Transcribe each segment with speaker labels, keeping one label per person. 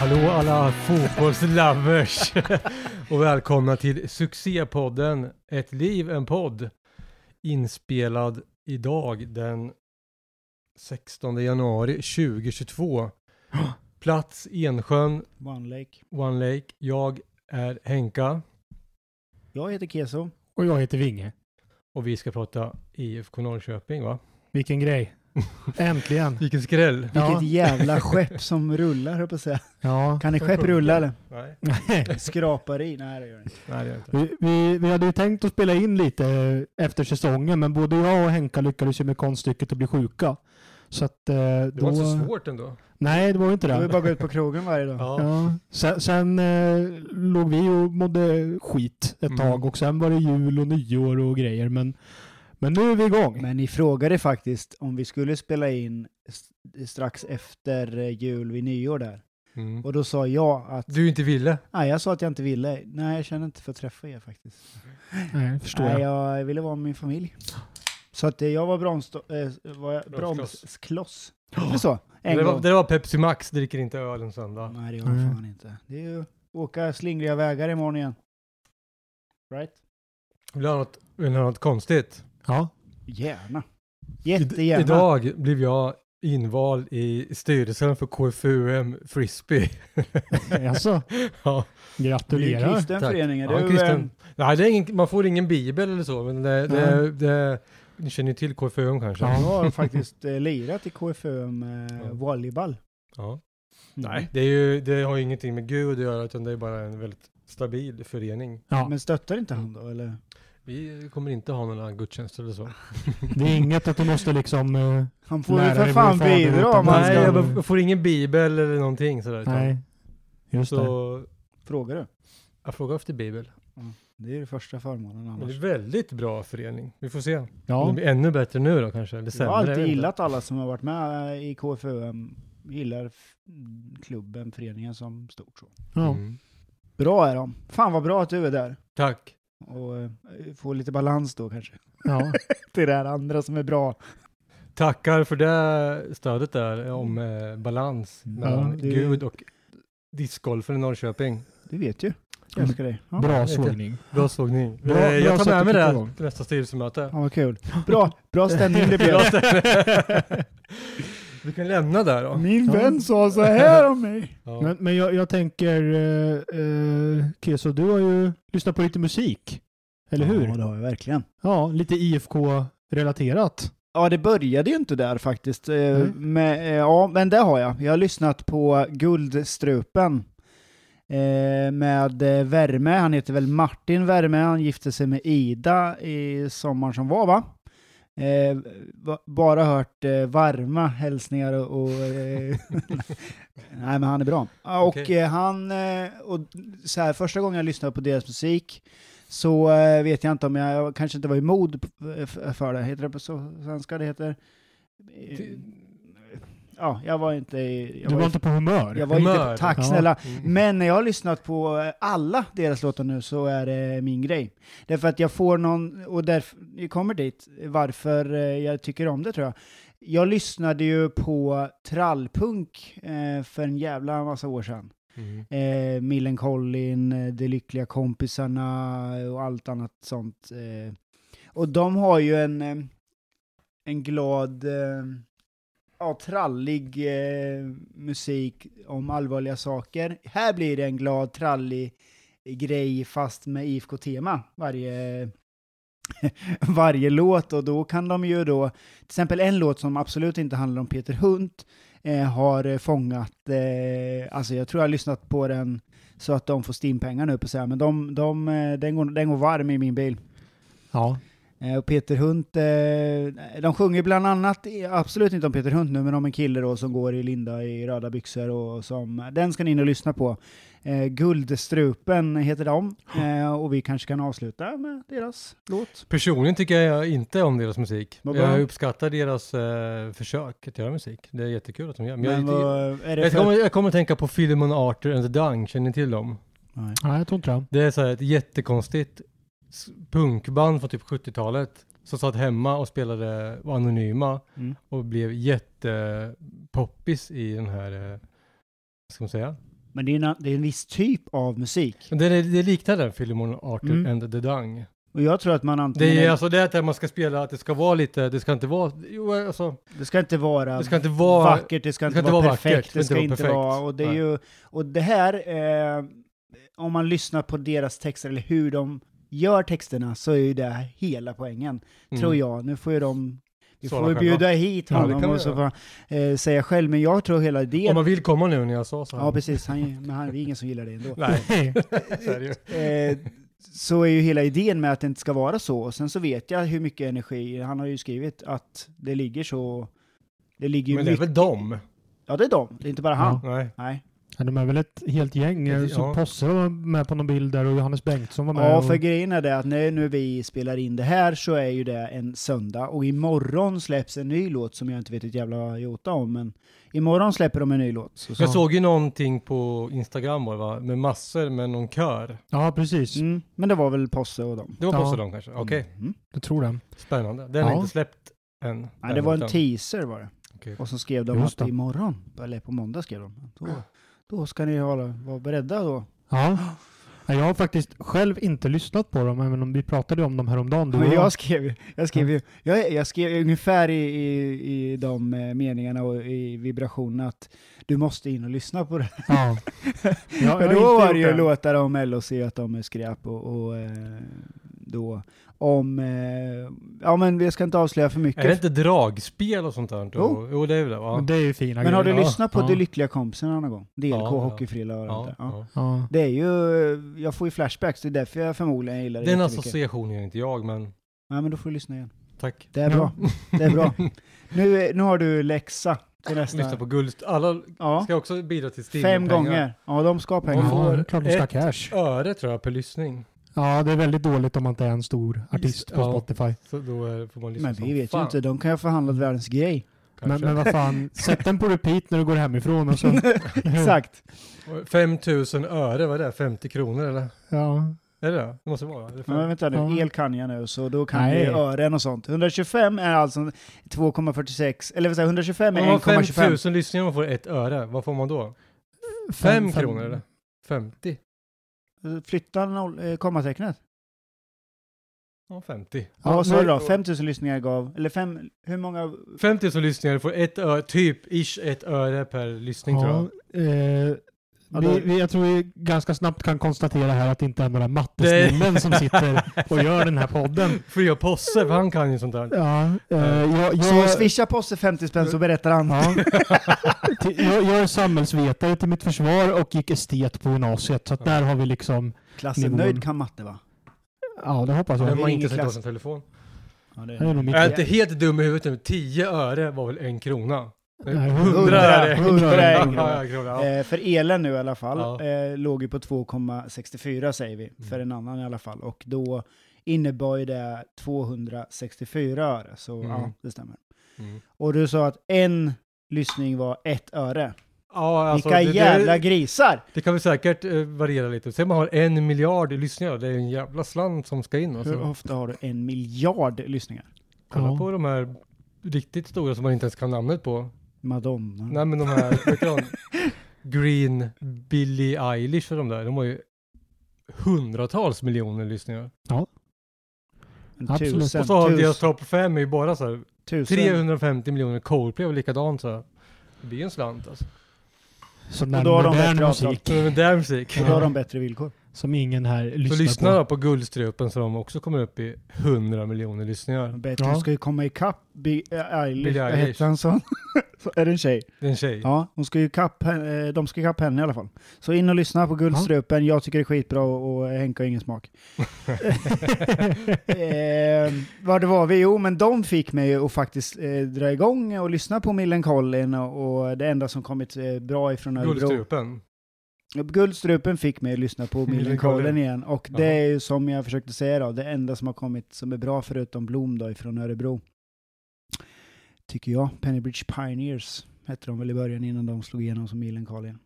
Speaker 1: Hallå alla fotbollslovers och välkomna till succépodden Ett liv, en podd inspelad idag den 16 januari 2022. Plats Ensjön,
Speaker 2: One Lake.
Speaker 1: One Lake. Jag är Henka
Speaker 2: Jag heter Keso.
Speaker 3: Och jag heter Vinge.
Speaker 1: och vi ska prata IFK Norrköping va?
Speaker 3: Vilken grej. Äntligen.
Speaker 1: Vilken skräll!
Speaker 3: Ja.
Speaker 2: Vilket jävla skepp som rullar, höll jag på att säga.
Speaker 3: Ja.
Speaker 2: Kan ett skepp rulla eller?
Speaker 1: Nej,
Speaker 2: Skrapar i? Nej, det gör det inte.
Speaker 1: nej det gör jag inte.
Speaker 3: Vi, vi, vi hade ju tänkt att spela in lite efter säsongen, men både jag och Henka lyckades ju med konststycket att bli sjuka. Så att, eh,
Speaker 1: Det var inte så svårt ändå.
Speaker 3: Nej, det var ju inte
Speaker 2: Då är
Speaker 3: det.
Speaker 2: vi bara gå ut på krogen varje dag.
Speaker 1: Ja.
Speaker 3: Ja. Sen, sen eh, låg vi och mådde skit ett
Speaker 1: Mm.
Speaker 3: tag och sen var det jul och nyår och grejer. Men, men nu är vi igång.
Speaker 2: Men ni frågade faktiskt om vi skulle spela in s- strax efter eh, jul vid nyår där.
Speaker 1: Mm.
Speaker 2: Och då sa jag att,
Speaker 1: Du inte ville?
Speaker 2: nej jag sa att jag inte ville. Nej, jag känner inte för att träffa er faktiskt.
Speaker 3: Nej, förstår
Speaker 2: Nej,
Speaker 3: jag.
Speaker 2: jag ville vara med min familj. Så att eh, jag var bromskloss. Äh, var jag,
Speaker 1: Bromskloss.
Speaker 2: bromskloss. Är det så? En
Speaker 1: det,
Speaker 2: gång.
Speaker 1: var, det var Pepsi Max, dricker inte öl en söndag.
Speaker 2: Nej, det gör jag
Speaker 3: Nej.
Speaker 2: fan inte. Det är ju åka slingriga vägar imorgon igen. Right?
Speaker 1: Vill du ha något, vill du ha något konstigt?
Speaker 3: Ja.
Speaker 2: Gärna.
Speaker 1: I-
Speaker 2: Jättegärna.
Speaker 1: Idag blev jag invald i styrelsen för KFUM Frisbee.
Speaker 3: Alltså,
Speaker 1: ja.
Speaker 2: Det är ju
Speaker 3: gratulerar.
Speaker 2: kristen
Speaker 1: Tack.
Speaker 2: förening. är
Speaker 1: Ja,
Speaker 2: du,
Speaker 1: kristen.
Speaker 2: eh,
Speaker 1: Nej, det är ingen, man får ingen bibel eller så, men det, det, det, ni känner ju till KFUM kanske?
Speaker 2: Jag har faktiskt eh, lirat i KFUM eh,
Speaker 1: Ja.
Speaker 2: volleyboll.
Speaker 1: Ja.
Speaker 2: Mm.
Speaker 1: Nej, det, är ju, det har ju ingenting med Gud att göra, utan det är bara en väldigt stabil förening.
Speaker 3: Ja.
Speaker 2: Men stöttar inte han då? Eller?
Speaker 1: Vi kommer inte ha några gudstjänster eller så.
Speaker 3: Det är inget att du måste liksom... eh,
Speaker 2: Han får ju
Speaker 3: Lärare
Speaker 2: för
Speaker 3: vår
Speaker 2: fan
Speaker 3: fader
Speaker 2: bidra om
Speaker 3: utan-
Speaker 2: han
Speaker 1: Nej,
Speaker 2: ska...
Speaker 1: jag b- får ingen bibel eller någonting sådär. utan-
Speaker 3: nej. Just det.
Speaker 1: Så
Speaker 2: Frågar du?
Speaker 1: jag frågar efter bibel.
Speaker 2: Det är ju första förmånen
Speaker 1: Men det är
Speaker 2: annars.
Speaker 1: väldigt bra förening. Vi får se. Det
Speaker 3: Ja.
Speaker 1: blir ännu bättre nu då kanske. Eller
Speaker 2: Jag
Speaker 1: sämre,
Speaker 2: har
Speaker 1: jag
Speaker 2: alltid
Speaker 1: vet inte.
Speaker 2: gillat alla som har varit med eh, i KFUM. Gillar f- klubben, föreningen som stort så.
Speaker 3: ja.
Speaker 1: Mm.
Speaker 2: Bra är de. Fan vad bra att du är där.
Speaker 1: Tack.
Speaker 2: Och eh, få lite balans då kanske.
Speaker 3: ja.
Speaker 2: Till det här andra som är bra.
Speaker 1: Tackar för det stödet där om
Speaker 2: Mm.
Speaker 1: eh, balans mellan
Speaker 2: Ja, det-
Speaker 1: Gud och discgolfen i Norrköping.
Speaker 2: Du vet ju. Jag älskar dig. Ja.
Speaker 3: Bra sågning.
Speaker 1: Bra sågning.
Speaker 3: Bra-
Speaker 1: Eh, jag
Speaker 3: bra
Speaker 1: tar
Speaker 3: sätt
Speaker 1: med
Speaker 3: att
Speaker 1: mig
Speaker 3: kicka
Speaker 1: det
Speaker 3: igång.
Speaker 1: till nästa styrelsemöte.
Speaker 2: Ja, vad kul. Bra, bra stämning det blev.
Speaker 1: Bra ställe. Vi kan lämna där då.
Speaker 2: Min
Speaker 3: Ja.
Speaker 2: vän sa så här om mig.
Speaker 1: Ja.
Speaker 3: Men, men jag, jag tänker, eh, eh, Keso, du har ju lyssnat på lite musik. Eller
Speaker 2: Ja,
Speaker 3: hur?
Speaker 2: det har jag verkligen.
Speaker 3: Ja, lite IFK-relaterat.
Speaker 2: Ja, det började ju inte där faktiskt. eh,
Speaker 3: Nej.
Speaker 2: Men, eh, ja, men det har jag. Jag har lyssnat på Guldstrupen eh, med eh, Värme. Han heter väl Martin Värme. Han gifte sig med Ida i sommaren som var, va? Eh, va- bara hört eh, varma hälsningar och... och eh, nej, men han är bra. Ja, Och,
Speaker 1: Okej.
Speaker 2: eh, han, eh, och så här, första gången jag lyssnade på deras musik så eh, vet jag inte om jag, jag kanske inte var i mod p- f- för det. Heter det på så, svenska? Det heter... Eh,
Speaker 1: Ty-
Speaker 2: Ja, jag var inte i... Jag var,
Speaker 3: Du var
Speaker 2: i-
Speaker 3: inte på humör.
Speaker 2: jag var inte på,
Speaker 1: Humör.
Speaker 2: tack
Speaker 3: Ja.
Speaker 2: snälla.
Speaker 1: Mm.
Speaker 2: Men när jag har lyssnat på eh, alla deras låtar nu så är det min grej. Därför att jag får någon, och därför, jag kommer dit, varför eh, jag tycker om det tror jag. Jag lyssnade ju på trallpunk eh, för en jävla massa år sedan.
Speaker 1: Mm.
Speaker 2: Eh, Millencolin, eh, De Lyckliga Kompisarna eh, och allt annat sånt. Eh. Och de har ju en, eh, en glad, eh, ja, trallig eh, musik om allvarliga saker. Här blir det en glad, trallig grej fast med IFK-tema varje, varje låt och då kan de ju då, till exempel en låt som absolut inte handlar om Peter Hunt eh, har fångat, eh, alltså jag tror jag har lyssnat på den så att de får stimpengar nu på så här, men de, de, eh, den, går, den går varm i min bil.
Speaker 3: Ja.
Speaker 2: Eh, Och Peter Hunt, eh, de sjunger bland annat, i- absolut inte om Peter Hunt nu, men om en kille då som går i linda i röda byxor och som, den ska ni in och lyssna på. Eh, Guldstrupen heter de, eh, och vi kanske kan avsluta med deras låt.
Speaker 1: Personligen tycker jag inte om deras musik.
Speaker 2: Vad bra.
Speaker 1: Jag uppskattar deras eh, försök att göra musik. Det är jättekul att de gör. Men jag,
Speaker 2: Men vad är det
Speaker 1: jag, kommer,
Speaker 2: för...
Speaker 1: jag kommer att tänka på filmen Arthur and the Dung, känner ni till dem?
Speaker 2: Nej.
Speaker 3: Nej, jag tror inte det.
Speaker 1: Det är så här ett jättekonstigt s- punkband från typ 70-talet som satt hemma och spelade, var anonyma
Speaker 2: Mm.
Speaker 1: och blev jättepoppis i den här, eh, vad ska man säga?
Speaker 2: Men det är, en, det är en viss typ av musik.
Speaker 1: Men Det, det, det liknar den, Filimon Arthur
Speaker 2: Mm.
Speaker 1: and the Dung.
Speaker 2: Och jag tror att man antingen...
Speaker 1: Det är alltså det att man ska spela, att det ska vara lite, det ska inte vara, jo alltså,
Speaker 2: det ska inte vara...
Speaker 1: det ska inte vara
Speaker 2: vackert, det ska inte vara perfekt, det ska inte
Speaker 1: perfekt.
Speaker 2: vara... Och det, är
Speaker 1: Nej.
Speaker 2: ju, och det här, eh, om man lyssnar på deras texter eller hur de gör texterna så är ju det hela poängen,
Speaker 1: Mm.
Speaker 2: tror jag. Nu får ju de... Vi
Speaker 1: Svara
Speaker 2: får ju
Speaker 1: själva.
Speaker 2: bjuda hit
Speaker 1: Ja, det
Speaker 2: honom
Speaker 1: kan vi
Speaker 2: och så får han eh, säga själv, men jag tror hela
Speaker 1: Om
Speaker 2: idén...
Speaker 1: man vill komma nu när jag sa så här.
Speaker 2: Ja, precis. Han, men han, det är ingen som gillar det ändå.
Speaker 1: Nej,
Speaker 3: Nej.
Speaker 1: så är det ju.
Speaker 2: Eh, så är ju hela idén med att det inte ska vara så. Och sen så vet jag hur mycket energi, han har ju skrivit att det ligger så... Det ligger ju
Speaker 1: Men det är
Speaker 2: mycket...
Speaker 1: väl dem?
Speaker 2: Ja, det är de. Det är inte bara han.
Speaker 1: Nej.
Speaker 2: Nej.
Speaker 3: Ja, de är väl ett helt gäng. eh, som
Speaker 1: Ja.
Speaker 3: Posse var med på någon bild där och Johannes Bengtsson var med.
Speaker 2: Ja,
Speaker 3: och...
Speaker 2: för grejen är det att när nu vi spelar in det här så är ju det en söndag och imorgon släpps en ny låt som jag inte vet ett jävla jota om, men imorgon släpper de en ny låt. Så,
Speaker 1: Jag såg ju någonting på Instagram var det, va? med massor med någon kör.
Speaker 3: Ja, precis.
Speaker 2: Mm, men det var väl Posse och dem.
Speaker 1: Det var
Speaker 3: Ja.
Speaker 1: Posse dem kanske? Okej,
Speaker 2: Mm.
Speaker 3: Jag tror det.
Speaker 1: spännande. Den har
Speaker 3: Ja.
Speaker 1: inte släppt än.
Speaker 2: Nej, det var en
Speaker 1: Däremot.
Speaker 2: teaser var det.
Speaker 1: Okej.
Speaker 2: Och så skrev de
Speaker 3: Just
Speaker 2: att
Speaker 3: det.
Speaker 2: imorgon, eller på måndag skrev de. Då, då ska ni hålla, vara beredda då.
Speaker 3: Ja. Nej, Jag har faktiskt själv inte lyssnat på dem, även om vi pratade om dem häromdagen. Du och
Speaker 2: Men
Speaker 3: jag.
Speaker 2: jag skrev ju, jag skrev ju, jag, jag skrev ungefär i, i, i de eh, meningarna och i vibrationerna att du måste in och lyssna på det.
Speaker 3: Ja. Ja,
Speaker 2: Men
Speaker 3: jag har
Speaker 2: då
Speaker 3: inte
Speaker 2: var det
Speaker 3: gjort
Speaker 2: ju
Speaker 3: det.
Speaker 2: låtar om LOC att de är skräp och, och eh, då om, eh, ja men vi ska inte avslöja för mycket.
Speaker 1: Är det inte dragspel och sånt där? Jo, jo det är väl det va?
Speaker 3: Men det är ju fina
Speaker 2: men har du
Speaker 3: grejer.
Speaker 2: lyssnat på
Speaker 3: ja.
Speaker 2: De lyckliga kompisarna någon gång? DLK,
Speaker 1: Ja, ja.
Speaker 2: Hockeyfrilla och allt
Speaker 1: ja,
Speaker 2: det ja.
Speaker 1: ja.
Speaker 3: Ja.
Speaker 2: Det är ju, jag får ju flashbacks, det är därför jag förmodligen gillar det
Speaker 1: Den alltså
Speaker 2: jättemycket.
Speaker 1: associationen gör inte jag, men
Speaker 2: Ja men då får du lyssna igen.
Speaker 1: tack.
Speaker 2: Det är
Speaker 3: Ja.
Speaker 2: bra, det är bra. Nu, är- nu har du läxa till
Speaker 1: Lyssna
Speaker 2: nästa.
Speaker 1: på guld. Alla
Speaker 2: Ja,
Speaker 1: ska också bidra till Steam.
Speaker 2: fem gånger. Ja de ska ha
Speaker 1: Man
Speaker 2: pengar.
Speaker 1: får eh,
Speaker 3: Ja, det är klart de ska ha
Speaker 1: ett-
Speaker 3: cash.
Speaker 1: Öre tror jag per lyssning.
Speaker 3: Ja, det är väldigt dåligt om man inte är en stor artist på
Speaker 1: Ja.
Speaker 3: Spotify.
Speaker 1: Så då eh, får man lyssna
Speaker 2: Men
Speaker 1: som
Speaker 2: vi vet ju
Speaker 1: fan,
Speaker 2: inte, de kan ju ha förhandlat världens grej.
Speaker 3: Men,
Speaker 1: kanske.
Speaker 3: men vad fan, sätt den på repeat när du går hemifrån och så...
Speaker 2: Exakt.
Speaker 1: Och 5000 öre, vad är det? 50 kronor eller?
Speaker 3: Ja.
Speaker 1: Är det det? Det måste vara. Eller
Speaker 2: Men
Speaker 1: fem-
Speaker 2: vänta nu,
Speaker 3: Ja.
Speaker 2: el kan jag nu, så då kan
Speaker 3: Nej.
Speaker 2: vi ören och sånt. 125 är alltså 2,46, eller vad säger jag, 125 är
Speaker 1: Om man har
Speaker 2: 1,25.
Speaker 1: 5000 lyssningar och man får ett öre, vad får man då?
Speaker 3: Fem-
Speaker 1: Fem
Speaker 3: fem-
Speaker 1: kronor eller? 50?
Speaker 2: Flytta noll, eh, kommatecknet.
Speaker 1: Ja, 50.
Speaker 2: Ja, vad sa
Speaker 3: men-
Speaker 2: du då? 5000 lyssningar gav, eller fem, hur många?
Speaker 1: 5000 lyssningar får ett öre, typ ish ett öre per lyssning tror jag.
Speaker 3: eh,
Speaker 2: Ja,
Speaker 3: vi,
Speaker 2: då-
Speaker 3: vi, jag tror vi ganska snabbt kan konstatera här att det inte är några mattesnillen som sitter och gör den här podden.
Speaker 1: För jag posse, för han kan ju sånt där.
Speaker 3: Ja, eh, jag,
Speaker 2: Så
Speaker 3: jag,
Speaker 2: swisha Posse 50 spänn så berättar han.
Speaker 3: ja. Till- jag, jag är samhällsvetare till mitt försvar och gick estet på gymnasiet. Så att där har vi liksom,
Speaker 2: Klassen
Speaker 3: Nivån.
Speaker 2: nöjd kan matte va?
Speaker 3: ja det hoppas
Speaker 1: Men
Speaker 3: jag.
Speaker 2: det
Speaker 1: man
Speaker 2: är
Speaker 1: inte
Speaker 2: ingen
Speaker 1: sett
Speaker 2: klass.
Speaker 1: på sin telefon.
Speaker 2: Ja, det
Speaker 3: Det är nog mitt
Speaker 1: Jag är inte helt dum i huvudet nu. 10 öre var väl en krona?
Speaker 3: Nej,
Speaker 1: 100 öre.
Speaker 2: hundra
Speaker 1: Ja,
Speaker 2: är en
Speaker 1: ja, en krona. Ja.
Speaker 2: Eh, för elen nu i alla fall,
Speaker 1: Ja. Mm.
Speaker 2: eh, låg ju på 2,64 säger vi, för en annan i alla fall. Och då innebar ju det 264 öre, så
Speaker 1: Mm.
Speaker 2: ja, det stämmer.
Speaker 1: Mm.
Speaker 2: Och du sa att en lyssning var ett öre.
Speaker 1: Ja, alltså,
Speaker 2: Vilka
Speaker 1: det,
Speaker 2: jävla
Speaker 1: det,
Speaker 2: grisar!
Speaker 1: det kan väl säkert eh, variera lite. Sen man har en miljard lyssningar, det är en jävla slant som ska in.
Speaker 2: Hur
Speaker 1: Alltså.
Speaker 2: ofta har du en miljard lyssningar?
Speaker 1: Kolla
Speaker 3: Ja.
Speaker 1: på de här riktigt stora som man inte ens kan namnet på.
Speaker 2: Madonna.
Speaker 1: Nej men de här, vet du vad? Green, Billie Eilish och de där, de har ju hundratals miljoner lyssningar.
Speaker 2: En
Speaker 3: absolut.
Speaker 2: tusen,
Speaker 1: Och så har deras
Speaker 2: tusen,
Speaker 1: topp fem är ju bara så här,
Speaker 2: tusen.
Speaker 1: 350 miljoner Coldplay och likadant så här. Det blir ju en slant alltså.
Speaker 3: Som
Speaker 2: Och då har de
Speaker 3: modern
Speaker 2: bättre
Speaker 3: musik.
Speaker 1: Så det är väl där musik.
Speaker 2: Och då har de bättre villkor.
Speaker 3: Som ingen här
Speaker 1: Så
Speaker 3: lyssnar
Speaker 1: lyssna
Speaker 3: på.
Speaker 1: då på Guldstrupen så de också kommer upp i 100 miljoner lyssningar.
Speaker 2: Bättre
Speaker 3: Ja.
Speaker 2: ska ju komma ikapp Bi- eh, Eilish.
Speaker 1: Billie
Speaker 2: Vad
Speaker 1: Eilish.
Speaker 2: hette han så? så? Är det en tjej?
Speaker 1: Det är en tjej.
Speaker 2: Ja, hon ska ju kapp, hen- eh, de ska ikapp henne i alla fall. Så in och lyssna på Guldstrupen. Jag tycker det är skitbra och, och Henke har ingen smak. eh, vad det var vi? Jo, men de fick mig att faktiskt eh, dra igång och lyssna på Millencolin och, och det enda som kommit eh, bra ifrån Örebro.
Speaker 1: Guldstrupen.
Speaker 2: Guldstrupen fick mig att lyssna på Millencolin
Speaker 1: Millencolin.
Speaker 2: igen och det
Speaker 1: Jaha.
Speaker 2: är ju som jag försökte säga då, det enda som har kommit som är bra förutom Blom då ifrån Örebro. Tycker jag. Pennybridge Pioneers hette de väl i början innan de slog igenom som Millencolin.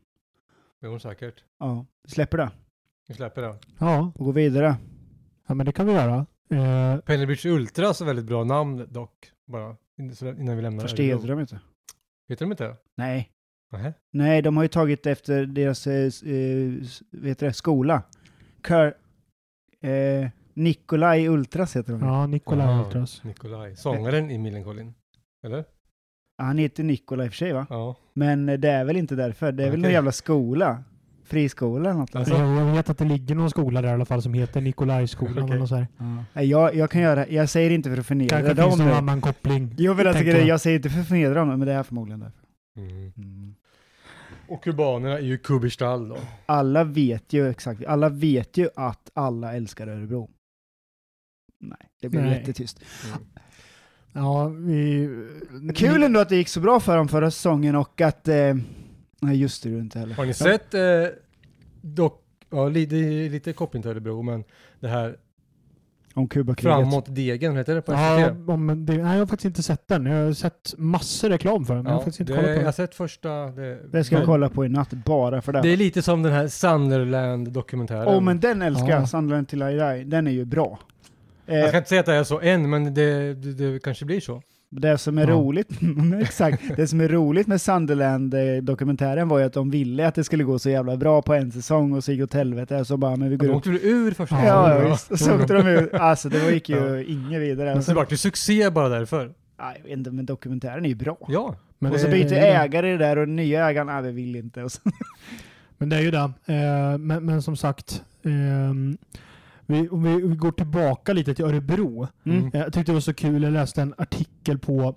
Speaker 1: Jo, säkert.
Speaker 2: Ja, vi släpper det
Speaker 1: Vi släpper det.
Speaker 3: Ja,
Speaker 2: och går vidare.
Speaker 3: ja, men det kan vi göra. Eh,
Speaker 1: Pennybridge Ultras är väldigt bra namn dock. Bara in- så- innan vi lämnar
Speaker 2: Först
Speaker 1: Örebro.
Speaker 2: heter de inte.
Speaker 1: Heter de inte?
Speaker 2: Nej.
Speaker 1: Nähä.
Speaker 2: Nej, de har ju tagit efter deras eh, s- eh, s- vad heter det, skola. Kör, eh, Nikolaj Ultras heter de.
Speaker 3: ja, Nikolaj
Speaker 1: Aha.
Speaker 2: Alltså-
Speaker 3: Ultras.
Speaker 1: Nikolaj. Sångaren i Millencolin. Eller?
Speaker 2: Han heter Nikolaj i och för sig va?
Speaker 1: Ja.
Speaker 2: Men eh, det är väl inte därför. Det är väl
Speaker 1: Okej.
Speaker 2: någon jävla skola. Friskola eller något.
Speaker 1: Alltså,
Speaker 3: Jag, jag vet att det ligger någon skola där i alla fall som heter Nikolajskolan
Speaker 1: Okej.
Speaker 3: eller något så här.
Speaker 2: Nej, Jag, jag kan göra, jag säger inte för att förnedra
Speaker 3: Kanske
Speaker 2: dem.
Speaker 3: finns någon
Speaker 2: nu.
Speaker 3: annan koppling.
Speaker 2: Jo, men jag, tycker
Speaker 3: tänker
Speaker 2: det,
Speaker 3: jag.
Speaker 2: jag säger inte för att förnedra dem, men det är förmodligen därför.
Speaker 1: Mm. Och kubanerna är ju Kubberstall då.
Speaker 2: Alla vet ju exakt, alla vet ju att alla älskar Örebro. Nej, det blir
Speaker 3: Nej.
Speaker 2: jättetyst.
Speaker 3: Ja, vi...
Speaker 2: Kul ändå att det gick så bra för dem förra säsongen och att... Eh, nej, just det, det är inte heller.
Speaker 1: Har ni sett, eh, dock, ja, li- det är lite koppling till Örebro, men det här
Speaker 2: Om Kubakriget.
Speaker 1: Framåt Degen, heter det på
Speaker 3: Ja,
Speaker 1: SVT?
Speaker 3: om det, nej, jag har faktiskt inte sett den. Jag har sett massor reklam för den, men jag har faktiskt inte
Speaker 1: det-
Speaker 3: kollat på
Speaker 1: jag har
Speaker 3: den.
Speaker 1: sett första... Det,
Speaker 2: Det ska jag
Speaker 1: men-
Speaker 2: kolla på i natt, bara för det.
Speaker 1: Det är lite som den här Sunderland-dokumentären.
Speaker 2: Åh, men den älskar jag,
Speaker 3: Ja. Alltså,
Speaker 2: Sunderland till I Die. Den är ju bra. Eh,
Speaker 1: Jag ska inte säga att det är så än, men det, det, det kanske blir så.
Speaker 2: Det som är
Speaker 3: Ja.
Speaker 2: roligt, exakt, det som är roligt med Sunderland-dokumentären var ju att de ville att det skulle gå så jävla bra på en säsong och så gick det åt helvete, så bara, men vi går
Speaker 1: De
Speaker 2: upp.
Speaker 1: åkte väl ur första
Speaker 3: Ja,
Speaker 2: Ja, ja,
Speaker 1: ja.
Speaker 2: visst. Och så åkte de ut. Alltså det gick ju
Speaker 1: Ja.
Speaker 2: inget vidare.
Speaker 1: Men så
Speaker 2: Alltså,
Speaker 1: vart det succé bara därför.
Speaker 2: nej, jag vet inte, men dokumentären är ju bra.
Speaker 1: Ja.
Speaker 3: Men
Speaker 2: Och så
Speaker 3: det-
Speaker 2: byter
Speaker 3: det är det.
Speaker 2: ägare där och den nya ägaren, nej vi vill inte. Och så,
Speaker 3: Men det är ju det. Eh, men, men som sagt, ehm, vi, om vi, vi går tillbaka lite till Örebro.
Speaker 2: mm.
Speaker 3: Eh, Jag tyckte det var så kul, jag läste en artikel på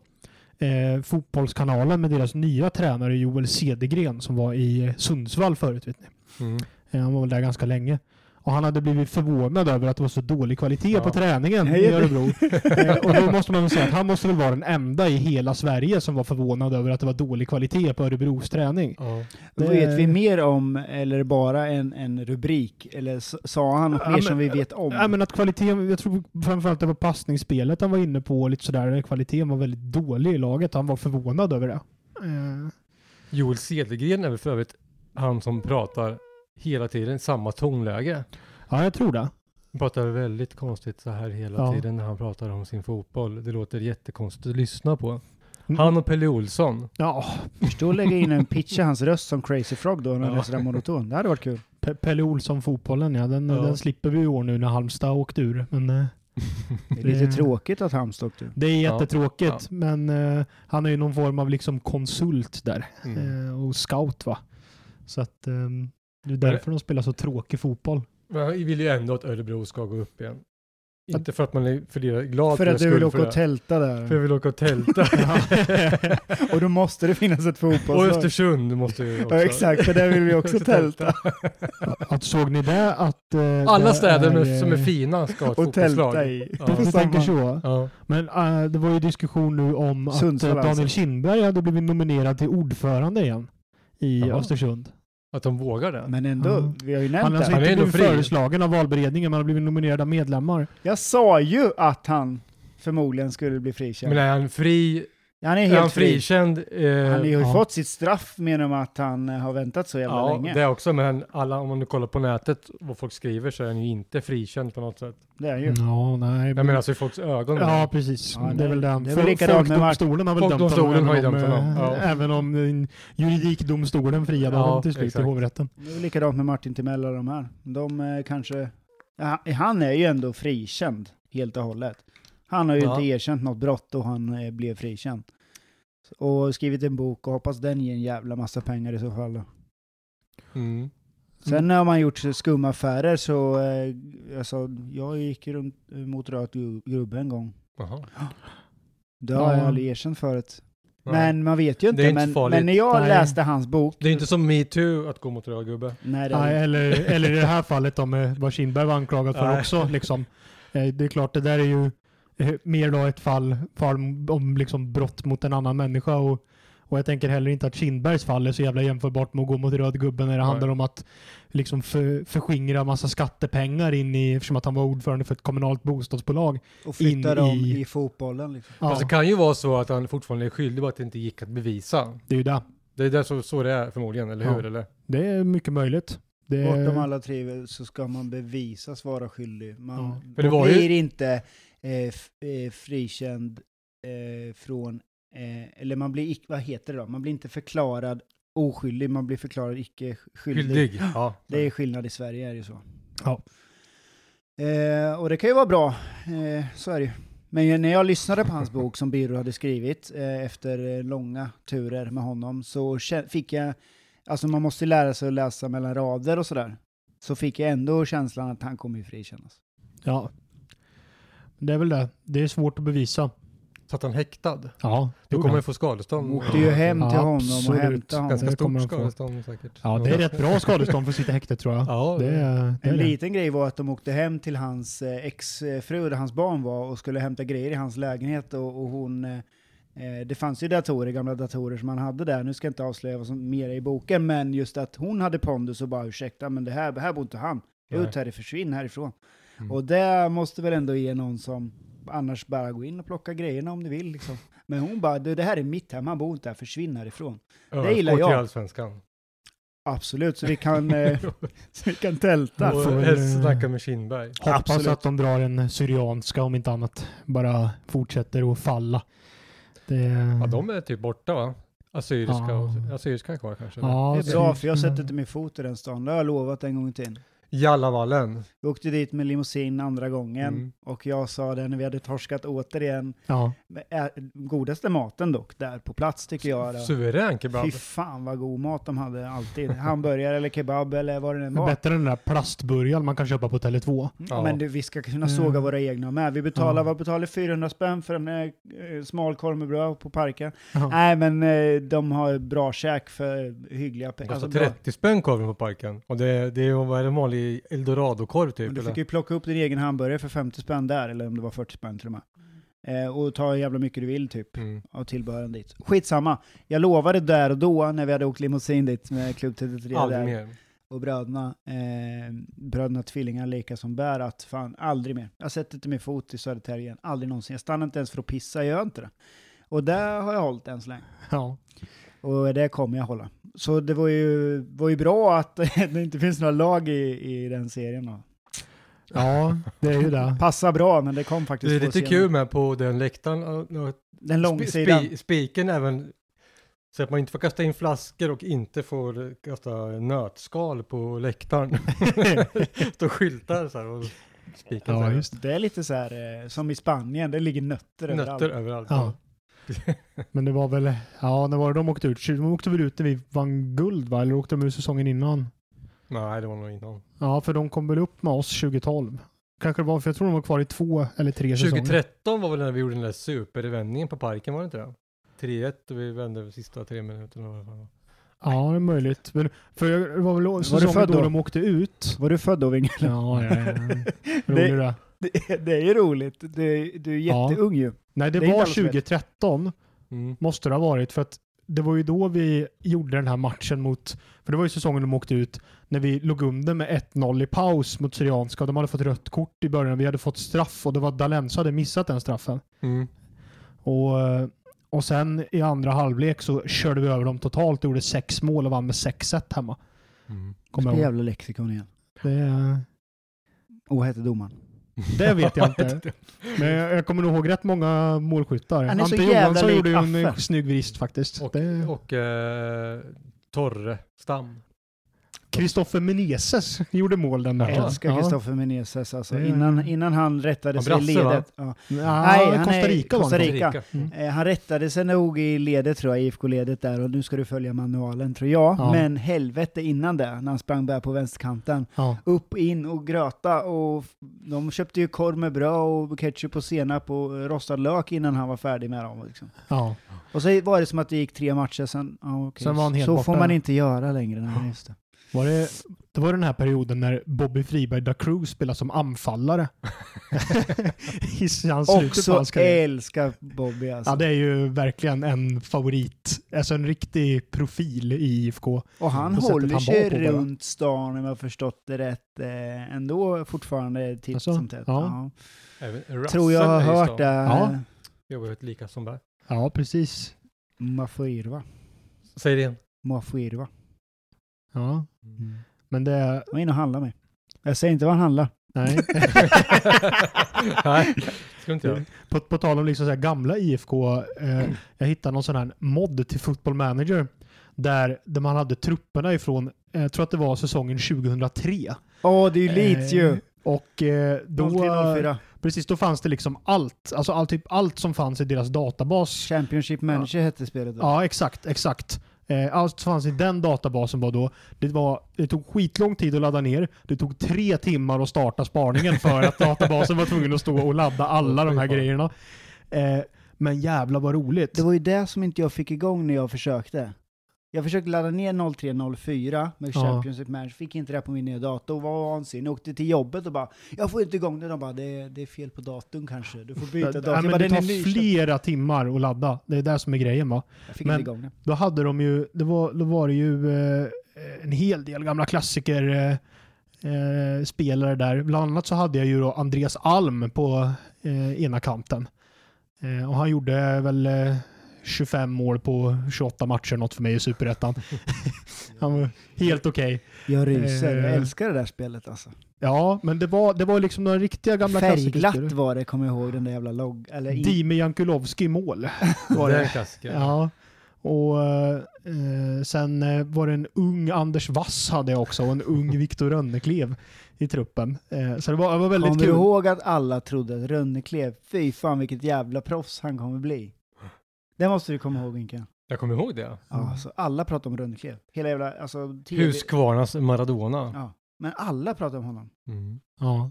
Speaker 3: eh, Fotbollskanalen med deras nya tränare Joel Cedergren som var i Sundsvall förut. Vet ni.
Speaker 1: Mm.
Speaker 3: Eh, Han var väl där ganska länge. Och han hade blivit förvånad över att det var så dålig kvalitet
Speaker 1: Ja.
Speaker 3: på träningen
Speaker 2: Nej,
Speaker 3: i
Speaker 2: det-
Speaker 3: Örebro. Eh, och då måste man väl säga att han måste väl vara den enda i hela Sverige som var förvånad över att det var dålig kvalitet på Örebros träning.
Speaker 1: Ja.
Speaker 2: Vad
Speaker 3: det-
Speaker 2: vet vi mer om, eller bara en, en rubrik? Eller s- sa han något
Speaker 3: Ja,
Speaker 2: mer
Speaker 3: men-
Speaker 2: som vi vet om?
Speaker 3: Ja, men att kvaliteten, jag tror framförallt det var passningsspelet han var inne på och lite sådär. Kvaliteten var väldigt dålig i laget. Han var förvånad över det. Eh,
Speaker 1: Joel Cedergren är väl för övrigt han som pratar hela tiden, samma tonläge.
Speaker 3: ja, jag tror det.
Speaker 1: Han pratar väldigt konstigt så här hela
Speaker 3: Ja.
Speaker 1: tiden när han pratar om sin fotboll. Det låter jättekonstigt att lyssna på.
Speaker 3: Mm.
Speaker 1: Han och Pelle Olsson.
Speaker 3: Ja,
Speaker 2: Förstå att lägga in en pitch i hans röst som Crazy Frog då, när han är sådär monoton. Det hade varit kul.
Speaker 3: Pe- Pelle Olsson-fotbollen ja, den,
Speaker 1: Ja.
Speaker 3: den slipper vi i år nu när Halmstad åkte ur. Men, eh,
Speaker 2: Det är lite
Speaker 3: Det-
Speaker 2: tråkigt att Halmstad åkte ur.
Speaker 3: det är
Speaker 1: Ja.
Speaker 3: jättetråkigt, men eh, han är ju någon form av liksom konsult där
Speaker 1: Mm.
Speaker 3: eh, och scout va. Så att eh, det är därför de spelar så tråkig fotboll.
Speaker 1: Men jag vill ju ändå att Örebro ska gå upp igen. Inte för att man är för det glad
Speaker 2: För att
Speaker 1: deras
Speaker 2: du vill
Speaker 1: skull,
Speaker 2: åka och
Speaker 1: för det.
Speaker 2: tälta
Speaker 1: För jag
Speaker 2: där.
Speaker 1: vill åka och tälta.
Speaker 2: Och då måste det finnas ett
Speaker 1: och
Speaker 2: fotbollslag.
Speaker 1: Östersund måste ju också.
Speaker 2: Ja exakt, för där vill vi också tälta.
Speaker 3: att, såg ni det? Att, eh,
Speaker 1: Alla
Speaker 3: det
Speaker 1: städer
Speaker 3: eh,
Speaker 1: med, som är fina ska ha ett
Speaker 2: Och tälta
Speaker 1: fotbollslag.
Speaker 2: i.
Speaker 1: Ja.
Speaker 3: Du tänker så.
Speaker 1: Ja.
Speaker 3: Men eh, det var ju diskussion nu om att eh,
Speaker 2: Sundsvall alltså.
Speaker 3: Daniel Kindberg hade blivit nominerad till ordförande igen i
Speaker 1: Jaha.
Speaker 3: Östersund.
Speaker 1: Att de vågar det.
Speaker 2: Men ändå,
Speaker 3: Ja.
Speaker 2: vi har ju nämnt
Speaker 3: Han har
Speaker 2: det.
Speaker 3: alltså
Speaker 1: Han
Speaker 3: inte
Speaker 1: är ändå
Speaker 3: blivit
Speaker 1: fri.
Speaker 3: föreslagen av valberedningen, men han har blivit nominerad av medlemmar.
Speaker 2: Jag sa ju att han förmodligen skulle bli frikänd.
Speaker 1: Men är han fri?
Speaker 2: han är
Speaker 1: Är han
Speaker 2: helt fri.
Speaker 1: frikänd? Eh,
Speaker 2: Han har ju
Speaker 3: Ja.
Speaker 2: fått sitt straff genom att han eh, har väntat så jävla
Speaker 1: ja,
Speaker 2: länge.
Speaker 1: det också. Men alla, om man nu kollar på nätet vad folk skriver så är han ju inte frikänd på något sätt.
Speaker 2: Det är han ju.
Speaker 3: Ja, nej.
Speaker 1: Jag menar alltså i folks ögon.
Speaker 3: Ja, precis.
Speaker 2: Mm. Ja,
Speaker 3: det är väl den.
Speaker 2: det är väl likadant med Mark-
Speaker 3: Folkdomstolen har väl dömt
Speaker 1: Folkdomstolen har ju
Speaker 3: även om,
Speaker 1: dömt honom,
Speaker 3: eh,
Speaker 1: ja.
Speaker 3: Även om eh, juridikdomstolen friade
Speaker 1: Ja,
Speaker 3: honom till slut
Speaker 1: exakt.
Speaker 3: i hovrätten.
Speaker 2: Det är väl likadant med Martin Timell och de här. De eh, kanske... Ja, han är ju ändå frikänd helt och hållet. Han har ju
Speaker 1: Ja.
Speaker 2: inte erkänt något brott och han eh, blev frikänd. Och skrivit en bok och hoppas den ger en jävla massa pengar i så fall. då.
Speaker 1: Mm.
Speaker 2: Sen har man gjort skumma affärer så, eh, alltså, jag gick runt mot röd gu- gubbe en gång.
Speaker 1: Jaha.
Speaker 2: Det har
Speaker 3: Ja.
Speaker 2: jag aldrig erkänt förut.
Speaker 1: Ja.
Speaker 2: Men man vet ju inte.
Speaker 1: Det är inte
Speaker 2: men,
Speaker 1: farligt.
Speaker 2: men när jag
Speaker 3: Nej.
Speaker 2: läste hans bok...
Speaker 1: Det är inte som metoo att gå mot röd gubbe.
Speaker 2: Nej, det är
Speaker 3: Nej, eller, eller i det här fallet om eh, vad Kindberg var anklagad för
Speaker 1: Nej.
Speaker 3: också. Liksom. Eh, Det är klart, det där är ju eh, mer då ett fall, fall om liksom brott mot en annan människa. Och, och jag tänker heller inte att Kindbergs fall är så jävla jämförbart med att gå mot röd gubbe när det
Speaker 1: Nej.
Speaker 3: handlar om att liksom för, förskingra massa skattepengar in i, eftersom att han var ordförande för ett kommunalt bostadsbolag.
Speaker 2: och flytta
Speaker 3: in
Speaker 2: dem
Speaker 3: i-
Speaker 2: i, fotbollen. Liksom.
Speaker 3: Ja,
Speaker 1: Fast det kan ju vara så att han fortfarande är skyldig bara att det inte gick att bevisa.
Speaker 3: det är ju det.
Speaker 1: Det är där så, så det är förmodligen, eller
Speaker 3: Ja.
Speaker 1: hur? Eller?
Speaker 3: Det är mycket möjligt. Det,
Speaker 2: Bortom alla tvivel så ska man bevisas vara skyldig. Man
Speaker 3: Ja.
Speaker 1: För det var ju-
Speaker 2: blir inte eh, f- eh, frikänd eh, från... Eh, eller man blir ic- vad heter det då? Man blir inte förklarad oskyldig, man blir förklarad icke skyldig.
Speaker 1: Skyldig. Ja.
Speaker 2: Det är skillnad i Sverige, är det ju så.
Speaker 3: Ja.
Speaker 2: Eh, och det kan ju vara bra, eh, så är det ju. Men ju- när jag lyssnade på hans bok som Birro hade skrivit eh, efter eh, långa turer med honom så kä- fick jag, alltså man måste ju lära sig att läsa mellan rader och sådär. Så fick jag ändå känslan att han kommer ju frikännas.
Speaker 3: ja. det är väl det. Det är svårt att bevisa.
Speaker 1: Satt han häktad?
Speaker 3: Ja,
Speaker 1: Då kommer han få skadestånd.
Speaker 2: De åkte ju hem till
Speaker 3: Ja,
Speaker 2: honom och
Speaker 3: absolut.
Speaker 2: hämtade honom.
Speaker 1: Ganska
Speaker 3: Det kommer
Speaker 1: stort
Speaker 3: han få.
Speaker 1: skadestånd säkert.
Speaker 3: Ja, det är rätt bra skadestånd för att sitta i häktet tror jag.
Speaker 1: Ja,
Speaker 3: Det är, det är
Speaker 2: En
Speaker 3: det.
Speaker 2: liten grej var att de åkte hem till hans eh, exfru där hans barn var och skulle hämta grejer i hans lägenhet och, och hon... eh, eh, Det fanns ju datorer, gamla datorer som han hade där. Nu ska jag inte avslöja vad som mer är i boken, men just att hon hade pondus och bara ursäkta, men det här, här bor inte han.
Speaker 1: Nej.
Speaker 2: Ut härifrån, försvinn härifrån.
Speaker 1: Mm.
Speaker 2: Och det måste väl ändå ge någon som annars bara gå in och plocka grejerna om ni vill. Liksom. Men hon bara, "Du, det här är mitt hem, han bor inte här, försvinn härifrån.
Speaker 1: ÖSK
Speaker 2: gillar jag.
Speaker 1: till Allsvenskan.
Speaker 2: Absolut, så vi kan, eh, så vi kan tälta.
Speaker 3: får
Speaker 1: Och
Speaker 3: väl-
Speaker 1: helst snacka med Kindberg.
Speaker 3: Hoppas
Speaker 2: Absolut.
Speaker 3: att de drar en syrianska om inte annat. Bara fortsätter att falla. Det,
Speaker 1: Ja, de är typ borta va? Assyriska,
Speaker 3: Mm. Ja.
Speaker 1: och, assyriska är kvar kanske?
Speaker 3: Ja, Mm.
Speaker 2: Det
Speaker 3: det-
Speaker 2: är bra, för jag sätter inte min fot i den stan. Det har jag lovat en gång till.
Speaker 1: Jallavallen.
Speaker 2: Vi åkte dit med limousin andra gången
Speaker 1: Mm.
Speaker 2: och jag sa det när vi hade torskat återigen.
Speaker 3: Ja,
Speaker 2: Men, äh, Godaste maten dock, där på plats tycker jag. Då.
Speaker 1: Suverän kebab.
Speaker 2: Fy fan vad god mat de hade alltid. Hamburgare eller kebab eller vad det än
Speaker 3: men
Speaker 2: var.
Speaker 3: bättre än den där plastburgaren man kan köpa på Tele2.
Speaker 1: Ja.
Speaker 2: Men du, vi ska kunna
Speaker 3: Mm.
Speaker 2: såga våra egna med. Vi
Speaker 3: Ja.
Speaker 2: betalar, vad betalar 400 spänn för en eh, smal korv med bröd på parken?
Speaker 3: Ja.
Speaker 2: Nej men eh, de har bra käk för hyggliga pengar.
Speaker 1: Kostar
Speaker 2: Alltså, bra.
Speaker 1: 30 spänn korven på parken. Och det, det är vad är det, en vanlig eldoradokorv typ?
Speaker 2: Men du
Speaker 1: Eller?
Speaker 2: fick ju plocka upp din egen hamburgare för 50 spänn där, eller om det var 40 spänn till och med. Eh, och ta hur jävla mycket du vill typ,
Speaker 1: Mm.
Speaker 2: av tillbehören dit. Skitsamma, jag lovade där och då när vi hade åkt limousin dit med Klubb 33
Speaker 1: Aldrig
Speaker 2: där,
Speaker 1: mer.
Speaker 2: och bröderna, eh, bröderna tvillingar lika som bär, att fan aldrig mer. Jag sätter inte min fot i Södertälje igen, aldrig någonsin. Jag stannar inte ens för att pissa, jag gör inte det. Och där har jag hållit än så länge.
Speaker 3: Ja.
Speaker 2: Och det kommer jag hålla. Så det var ju, var ju bra att det inte finns några lag i, i den serien. Då.
Speaker 3: ja, det är ju det.
Speaker 2: Passa bra, men det kom faktiskt
Speaker 1: Det är
Speaker 2: två
Speaker 1: lite
Speaker 2: scener.
Speaker 1: kul med på den läktaren. och- och
Speaker 2: Den
Speaker 1: spi-
Speaker 2: långsidan.
Speaker 1: spi- Spiken även. Så att man inte får kasta in flaskor och inte får kasta nötskal på läktaren. Står skyltar så här och spikar så
Speaker 3: Ja,
Speaker 1: här.
Speaker 3: just det.
Speaker 2: Det är lite så här eh, som i Spanien, det ligger nötter,
Speaker 1: Nötter
Speaker 2: överallt.
Speaker 1: överallt.
Speaker 3: Ja. Men det var väl, ja när var det de åkte ut? De åkte väl ut när vi vann guld va? Eller åkte de ut säsongen innan?
Speaker 1: Nej, det var nog innan.
Speaker 3: Ja, för de kom väl upp med oss 2012. Kanske det var, för jag tror de var kvar i två eller tre säsonger.
Speaker 1: 2013 var väl när vi gjorde den där supervändningen på parken, var det inte det? 3-1 och vi vände de sista tre minuterna. i alla fall.
Speaker 3: Ja, det är möjligt. Men, för jag, det var väl
Speaker 2: du
Speaker 3: säsongen
Speaker 2: född
Speaker 3: då,
Speaker 2: då?
Speaker 3: de åkte ut.
Speaker 2: Var du född då, Vinge?
Speaker 3: Ja, ja, ja. Rolig
Speaker 2: Det-
Speaker 3: det.
Speaker 2: Det, det är ju roligt. Du, du är
Speaker 3: Ja.
Speaker 2: jätteung ju.
Speaker 3: Nej, det,
Speaker 2: Det är inte
Speaker 3: var
Speaker 2: alla som vet.
Speaker 3: 2013
Speaker 1: Mm.
Speaker 3: måste det ha varit för att det var ju då vi gjorde den här matchen mot, för det var ju säsongen de åkte ut, när vi låg under med 1-0 i paus mot Syrianska. De hade fått rött kort i början, vi hade fått straff och det var Dahlén som hade missat den straffen.
Speaker 1: Mm.
Speaker 3: Och, eh, och sen i andra halvlek så körde vi över dem totalt och gjorde sex mål och vann med 6-1 hemma.
Speaker 1: Mm.
Speaker 3: Kommer jag ihåg.
Speaker 2: jävla lexikon igen.
Speaker 3: Det,
Speaker 2: Och hette domaren.
Speaker 3: det vet jag inte. Men jag, jag kommer nog ihåg rätt många målskyttar.
Speaker 2: Han är så
Speaker 3: Ante
Speaker 2: jävla
Speaker 3: Johansson
Speaker 2: lik
Speaker 3: gjorde ju en eh,
Speaker 2: Affe.
Speaker 3: snygg vrist faktiskt.
Speaker 1: Och,
Speaker 3: det,
Speaker 1: och eh, Torre Stam.
Speaker 3: Kristoffer Meneses gjorde mål den där.
Speaker 2: Jag älskar Kristoffer Meneses alltså. Innan, innan han rättade
Speaker 1: Han
Speaker 2: sig i
Speaker 1: brasse, va?
Speaker 2: ledet. Ja.
Speaker 3: Ja.
Speaker 2: Nej, han är-
Speaker 3: Nej, Costa Rica var
Speaker 2: Costa
Speaker 3: det.
Speaker 2: Rica. Eh, Han rättade sig nog i ledet tror jag, IFK-ledet där och nu ska du följa manualen tror jag.
Speaker 3: Ja.
Speaker 2: Men helvete innan det, när han sprang där på vänsterkanten.
Speaker 3: Ja.
Speaker 2: Upp, in och gröta och f- de köpte ju korv med bröd och ketchup och senap och eh, rostad lök innan han var färdig med dem. Liksom.
Speaker 3: Ja.
Speaker 2: Och så var det som att det gick tre matcher sen. Ja, okej.
Speaker 3: Sen var han helt
Speaker 2: så
Speaker 3: borta.
Speaker 2: får man inte göra längre. Nej, just det.
Speaker 3: Var det, det var den här perioden när Bobby Friberg da Cruz spelade som anfallare. I hans slutet på
Speaker 2: Också
Speaker 3: hans karriär.
Speaker 2: älskar Bobby alltså.
Speaker 3: Ja, det är ju verkligen en favorit. Alltså en riktig profil i IFK.
Speaker 2: Och han
Speaker 3: på sättet
Speaker 2: håller
Speaker 3: han
Speaker 2: sig
Speaker 3: var på bara.
Speaker 2: runt stan om jag har förstått det rätt eh, ändå fortfarande titt
Speaker 3: Alltså,
Speaker 2: som tätt.
Speaker 3: ja.
Speaker 1: Även
Speaker 2: Tror jag har
Speaker 1: Russell är ju
Speaker 2: hört
Speaker 1: stan.
Speaker 2: det.
Speaker 3: Ja.
Speaker 2: Ja.
Speaker 1: Jobbar ju ett lika som där.
Speaker 3: Ja, precis.
Speaker 2: Mafirva.
Speaker 1: Säg det igen.
Speaker 2: Mafirva.
Speaker 3: Ja. Men det...
Speaker 2: Han var inne och handlade med. Jag säger inte vad han handlar.
Speaker 3: Nej.
Speaker 1: Nej, ska inte jag.
Speaker 3: På, på tal om liksom så här gamla IFK, eh, jag hittade någon sån här mod till Football Manager där, där man hade trupperna ifrån, eh, jag tror att det var säsongen 2003.
Speaker 2: Åh, det är ju Leeds ju.
Speaker 3: Eh, och eh, då,
Speaker 2: 03-04.
Speaker 3: precis, då fanns det liksom allt, alltså all, typ allt som fanns i deras databas.
Speaker 2: Championship Manager hette spelet då.
Speaker 3: Ja, exakt, exakt. Eh, Allt som fanns i den databasen var då, det, var, det tog skitlång tid att ladda ner, det tog tre timmar att starta spaningen för att databasen var tvungen att stå och ladda alla de här grejerna. Eh, Men jävla vad roligt.
Speaker 2: Det var ju det som inte jag fick igång när jag försökte. Jag försökte ladda ner 0304 med
Speaker 3: Ja.
Speaker 2: Championship Manager, fick inte det på min nya dator, var vansinnig. Åkte till jobbet och bara “Jag får inte igång det”. De bara “Det, det är fel på datorn kanske, du får byta dator”.
Speaker 3: Nej,
Speaker 2: Jag
Speaker 3: men
Speaker 2: bara,
Speaker 3: det
Speaker 2: "Den är
Speaker 3: tar
Speaker 2: nyköpt."
Speaker 3: flera timmar att ladda. Det är det som är grejen va.
Speaker 2: Jag fick
Speaker 3: men-
Speaker 2: inte igång det.
Speaker 3: Då hade de ju, det var, då var det ju eh, en hel del gamla klassiker eh, eh, spelare där. Bland annat så hade jag ju då Andreas Alm på eh, ena kanten. Eh, och han gjorde väl eh, 25 mål på 28 matcher något för mig i Superettan. han var helt okej.
Speaker 2: Jag ryser,
Speaker 3: Eh.
Speaker 2: jag älskar det där spelet alltså.
Speaker 3: Ja, men det var, det var liksom några riktiga gamla
Speaker 2: Färgglatt
Speaker 3: klassiker.
Speaker 2: var det, kommer jag ihåg, den där jävla logg... Eller i-
Speaker 3: Dime Jankulovski i mål. Var
Speaker 1: Det
Speaker 3: det.
Speaker 1: är en klassiker.
Speaker 3: Ja. Och eh, sen eh, var det en ung Anders Wass hade jag också och en ung Viktor Rönneklev i truppen. Eh, så det var, det var väldigt
Speaker 2: Kommer
Speaker 3: kul.
Speaker 2: du ihåg att alla trodde att Rönneklev, fy fan vilket jävla proffs han kommer bli. Det måste du komma ihåg Inka.
Speaker 1: Jag kommer ihåg det.
Speaker 2: Ja, alltså, alla pratar om Rönneklev. Hela jävla, alltså, TV.
Speaker 1: Huskvarnas Maradona.
Speaker 2: Ja. Men alla pratar om honom.
Speaker 1: Mm.
Speaker 3: Ja.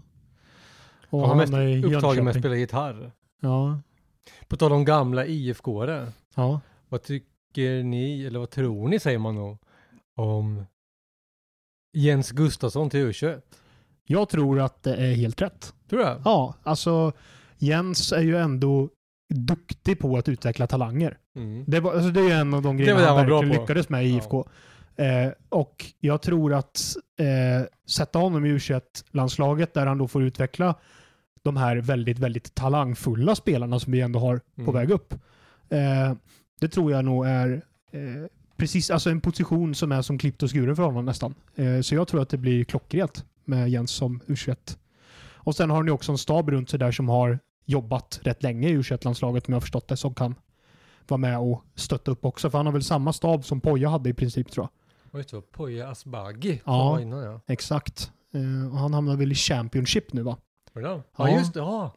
Speaker 3: Och
Speaker 1: Han var mest
Speaker 3: hamnade i
Speaker 1: Upptagen med att
Speaker 3: Jönköping.
Speaker 1: spela gitarr.
Speaker 3: Ja.
Speaker 1: På tal om gamla IFK-are.
Speaker 3: Ja.
Speaker 1: Vad tycker ni, eller vad tror ni säger man nog, om Jens Gustafsson till U21?
Speaker 3: Jag tror att det är helt rätt.
Speaker 1: Tror du det?
Speaker 3: Ja, alltså Jens är ju ändå duktig på att utveckla talanger.
Speaker 1: Mm.
Speaker 3: Det, var, alltså det är ju en av de grejerna
Speaker 1: var det
Speaker 3: han
Speaker 1: han var bra
Speaker 3: verkligen
Speaker 1: på.
Speaker 3: lyckades med i
Speaker 1: Ja.
Speaker 3: IFK. Eh, och jag tror att eh, sätta honom i U21-landslaget där han då får utveckla de här väldigt, väldigt talangfulla spelarna som vi ändå har på
Speaker 1: Mm.
Speaker 3: väg upp. Eh, det tror jag nog är eh, precis alltså en position som är som klippt och skuren för honom nästan. Eh, så jag tror att det blir klockrent med Jens som U21. Och sen har ni också en stab runt sig där som har jobbat rätt länge i U21-landslaget om jag har förstått det, som kan vara med och stötta upp också. För han har väl samma stab som Poja hade i princip tror jag.
Speaker 1: Och just det, Poya Asbaghi som
Speaker 3: Ja.
Speaker 1: var innan ja.
Speaker 3: Exakt. Eh, och han hamnar väl i Championship nu va?
Speaker 1: Var det han?
Speaker 3: Ja.
Speaker 1: Ja. just det, ja.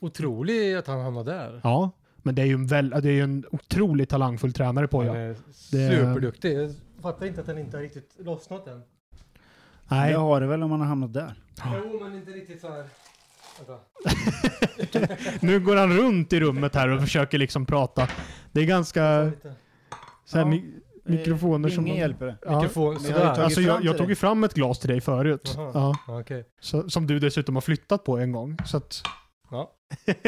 Speaker 1: Otroligt att han hamnade där.
Speaker 3: Ja. Men det är ju en, väl, det är ju en otroligt talangfull tränare Poja.
Speaker 1: Han är superduktig. Jag fattar inte att han inte har riktigt lossnat än.
Speaker 3: Nej.
Speaker 2: Det har det väl om man har hamnat där.
Speaker 1: Jo, men inte riktigt så här. Vänta.
Speaker 3: Nu går han runt i rummet här och försöker liksom prata. Det är ganska
Speaker 1: Lite.
Speaker 3: så här,
Speaker 2: Ja.
Speaker 3: mi- mikrofoner
Speaker 2: Eh,
Speaker 3: som...
Speaker 2: Ingen hjälper det.
Speaker 3: Ja.
Speaker 1: Mikrofon,
Speaker 2: men jag har ju
Speaker 1: sådär.
Speaker 2: tagit-
Speaker 3: Alltså jag,
Speaker 2: fram
Speaker 3: jag
Speaker 2: till
Speaker 3: tog ju
Speaker 2: dig.
Speaker 3: fram ett glas till dig förut.
Speaker 1: Jaha.
Speaker 3: Ja.
Speaker 1: Ja, Okej.
Speaker 3: Så, som du dessutom har flyttat på en gång. Så att,
Speaker 1: Ja.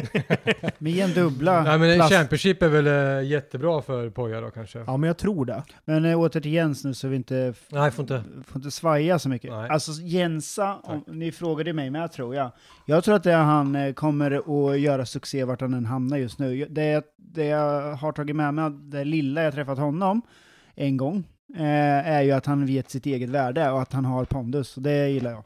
Speaker 2: Med en dubbla.
Speaker 1: Nej men
Speaker 2: plast.
Speaker 1: Championship är väl eh, jättebra för Poja då kanske?
Speaker 3: ja, men jag tror det.
Speaker 2: Men eh, åter till Jens nu så vi inte, f-
Speaker 1: Nej, får inte.
Speaker 2: får inte svaja så mycket.
Speaker 1: Nej.
Speaker 2: Alltså Jensa, om, ni frågade mig men jag tror jag. Jag tror att det är han eh, kommer att göra succé vart han än hamnar just nu. Jag- Det, det jag har tagit med mig, det lilla jag träffat honom en gång, eh, är ju att han vet sitt eget värde och att han har pondus. Och det gillar jag.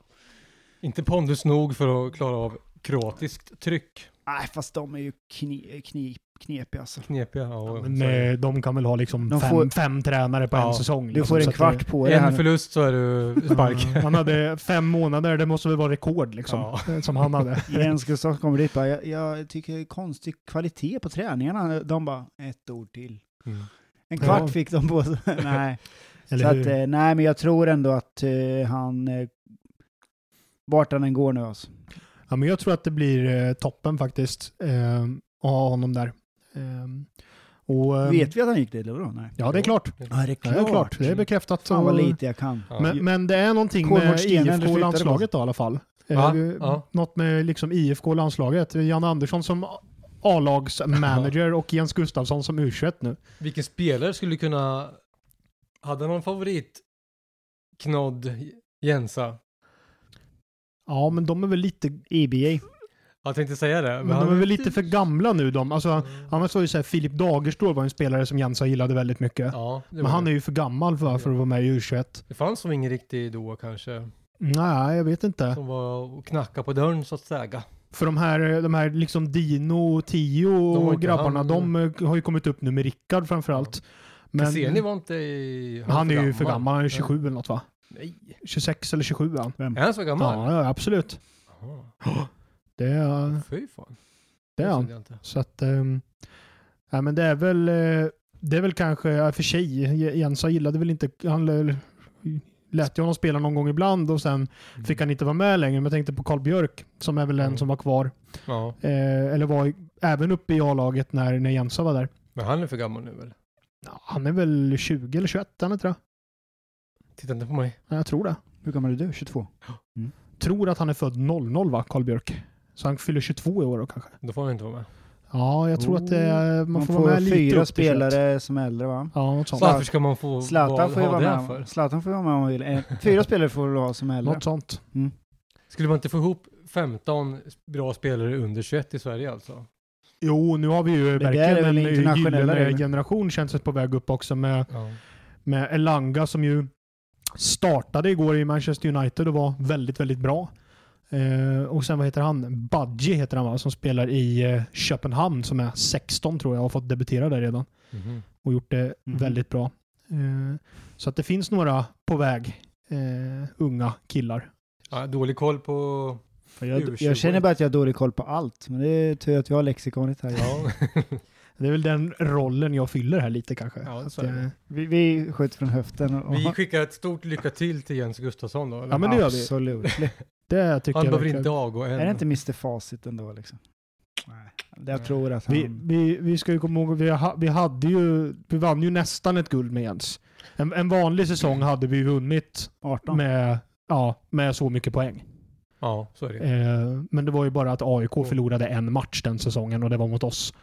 Speaker 1: Inte pondus nog för att klara av kroatiskt tryck.
Speaker 2: Nej, fast de är ju kni, kni, knepig alltså.
Speaker 1: Knepiga. Ja,
Speaker 3: Men
Speaker 1: så är det.
Speaker 3: eh, de kan väl ha liksom
Speaker 2: De
Speaker 3: fem,
Speaker 2: får-
Speaker 3: fem tränare på
Speaker 1: Ja,
Speaker 3: en säsong.
Speaker 2: Du
Speaker 3: liksom,
Speaker 2: får
Speaker 3: så
Speaker 2: en
Speaker 3: att
Speaker 2: kvart
Speaker 3: det-
Speaker 2: på dig
Speaker 1: en
Speaker 2: här.
Speaker 1: förlust så är du spark.
Speaker 3: Ja, Han hade fem månader, det måste väl vara rekord liksom. Som han hade.
Speaker 2: Jens Gustafsson kommer dit bara, jag, jag tycker det är konstig kvalitet på träningarna. De bara, ett ord till.
Speaker 1: Mm.
Speaker 2: En kvart
Speaker 3: Ja.
Speaker 2: fick de på sig. nej. Så
Speaker 3: Eller
Speaker 2: att,
Speaker 3: hur?
Speaker 2: eh, nej, men jag tror ändå att eh, han, eh, vart han än går nu alltså.
Speaker 3: Ja, men jag tror att det blir eh, toppen faktiskt. Eh, att ha honom där. Eh, och, eh,
Speaker 2: Vet vi att han gick dit eller vadå? Nej.
Speaker 3: Ja, det är klart.
Speaker 2: Ja, det är
Speaker 3: Ja, det är klart. Det är bekräftat.
Speaker 2: Fan vad
Speaker 3: Och-
Speaker 2: lite jag kan.
Speaker 1: Ja.
Speaker 3: Men, men det är någonting
Speaker 2: Kolmård
Speaker 3: med
Speaker 2: Stenen, du flyttade
Speaker 3: IFK-landslaget då i alla fall.
Speaker 1: Ja,
Speaker 3: Eh, vi-
Speaker 1: ja.
Speaker 3: Något med liksom IFK-landslaget. Jan Andersson som A-lagsmanager och Jens Gustafsson som U21 nu.
Speaker 1: Vilken spelare skulle kunna... Hade någon favorit? Knodd, Jensa?
Speaker 3: Ja, men de är väl lite, E
Speaker 2: EBA.
Speaker 1: Jag tänkte säga det. Mm.
Speaker 3: men de är väl lite för gamla nu. De. Alltså, annars var det ju så här, Filip Dagerstål var en spelare som Jensa gillade väldigt mycket.
Speaker 1: Ja, det,
Speaker 3: Men han är ju för gammal för, för att vara med i U21.
Speaker 1: det fanns som ingen riktig då kanske.
Speaker 3: Nej, jag vet inte.
Speaker 1: Som var och knacka på dörren så att säga.
Speaker 3: För de här, de här liksom Dino, Tio
Speaker 1: De har
Speaker 3: och
Speaker 1: inte
Speaker 3: grabbarna,
Speaker 1: han-
Speaker 3: de eh, har ju kommit upp nu med Rickard framförallt. Men
Speaker 1: Ser ni var inte i...
Speaker 3: han är ju för gammal, han är 27 eller något va?
Speaker 1: Nej.
Speaker 3: 26 eller 27 är han.
Speaker 1: Är han så gammal?
Speaker 3: Ja, ja, absolut.
Speaker 1: Ja.
Speaker 3: Det är,
Speaker 1: Fy fan.
Speaker 3: det är
Speaker 1: trodde
Speaker 3: han.
Speaker 1: jag inte.
Speaker 3: Så att, ehm, ja, men det är väl, eh, det är väl kanske, ja, för sig, Je- Jensa gillade väl inte, han lär- lät ju honom spela någon gång ibland och sen fick han inte vara med längre. Men jag tänkte på Carl Björk som är väl den
Speaker 1: Mm.
Speaker 3: som var kvar.
Speaker 1: Ja.
Speaker 3: Eh, eller var i- även uppe i A-laget när, när Jensa var där.
Speaker 1: Men han är för gammal nu väl?
Speaker 3: Ja, Han är väl 20 eller 21, han är inte det?
Speaker 1: Titta inte på mig.
Speaker 3: Ja, Jag tror det.
Speaker 2: Hur gammal är du? 22?
Speaker 3: Tror att han är född 00 va, Carl Björk? Så han fyller 22 i år då kanske?
Speaker 1: Då får han inte vara med.
Speaker 3: Ja, jag tror att det, är- man,
Speaker 2: Oh. Man,
Speaker 3: får,
Speaker 2: får
Speaker 3: vara med lite
Speaker 2: fyra
Speaker 3: upp till kött.
Speaker 2: spelare som är äldre va?
Speaker 3: Ja, något sånt.
Speaker 1: Så varför ska man få
Speaker 2: Zlatan får ju
Speaker 1: ha
Speaker 2: vara
Speaker 1: det för?
Speaker 2: med. Zlatan får ju vara med om han vill. Eh, Fyra spelare får du ha som äldre. Mm.
Speaker 3: Något sånt.
Speaker 1: Skulle man inte få ihop 15 bra spelare under 21 i Sverige alltså?
Speaker 3: Jo, nu har vi ju
Speaker 2: där är
Speaker 3: verkligen
Speaker 2: väl
Speaker 3: en
Speaker 2: internationella
Speaker 3: gyllene
Speaker 2: regler.
Speaker 3: generation känns det på väg upp också med,
Speaker 1: Ja.
Speaker 3: med Elanga som ju startade igår i Manchester United och var väldigt, väldigt bra. Eh, och sen vad heter han? Badji heter han va? Som spelar i eh, Köpenhamn som är 16 tror jag och har fått debutera där redan. och gjort det
Speaker 2: Mhm.
Speaker 3: väldigt bra. Eh, så att det finns några på väg, eh, unga killar.
Speaker 1: Ja, dålig koll på...
Speaker 2: Jag,
Speaker 1: U21.
Speaker 2: jag känner bara att jag har dålig koll på allt. Men det är tur att vi har lexikonet här.
Speaker 1: Ja.
Speaker 3: Det är väl den rollen jag fyller här lite kanske.
Speaker 1: Ja,
Speaker 3: Att,
Speaker 1: så är det.
Speaker 3: eh,
Speaker 2: Vi, vi skjuter från höften. Och,
Speaker 1: Vi skickar ett stort lycka till till Jens Gustafsson då. eller?
Speaker 3: Ja, men det gör vi.
Speaker 2: Absolut.
Speaker 3: det tycker
Speaker 1: han
Speaker 3: jag
Speaker 1: behöver
Speaker 3: verkligen.
Speaker 1: inte avgå än.
Speaker 2: Är det inte Mr Facit ändå liksom? Nej. Jag
Speaker 1: Nej.
Speaker 2: tror att han...
Speaker 3: Vi, vi, vi ska ju komma ihåg, vi, ha, vi, hade ju, vi vann ju nästan ett guld med Jens. En, en vanlig säsong hade vi vunnit
Speaker 2: 18.
Speaker 3: med, ja, med så mycket poäng.
Speaker 1: Ja, så är det.
Speaker 3: Eh, men det var ju bara att AIK förlorade en match den säsongen och det var mot oss.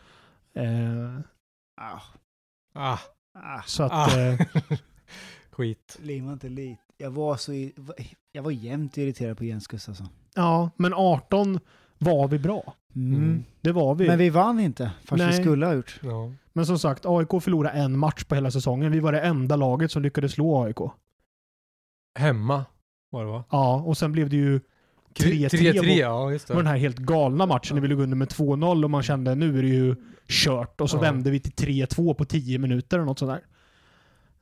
Speaker 3: Eh,
Speaker 2: Ah,
Speaker 1: Ah,
Speaker 2: ah,
Speaker 3: så att...
Speaker 1: Ah.
Speaker 3: Eh,
Speaker 1: skit.
Speaker 2: limma inte lite. Jag var så... i- Jag var jämt irriterad på Jens Gustafsson.
Speaker 3: Ja, men 18 var vi bra.
Speaker 1: Mm.
Speaker 3: Det var vi.
Speaker 2: Men
Speaker 3: Men,
Speaker 2: vi vann inte, fast vi
Speaker 3: Nej.
Speaker 2: skulle ha gjort.
Speaker 1: Ja.
Speaker 3: som sagt, AIK förlorade en match på hela säsongen. Vi var det enda laget som lyckades slå AIK.
Speaker 1: Hemma var det va?
Speaker 3: Ja, och sen blev det ju 3-3
Speaker 1: 3-3,
Speaker 3: mot-
Speaker 1: ja just
Speaker 3: det var den
Speaker 1: det.
Speaker 3: här helt galna matchen när vi låg under med 2-0 och man kände nu är det ju kört. Och så
Speaker 1: Ja.
Speaker 3: vände vi till 3-2 på 10 minuter eller något sånt där.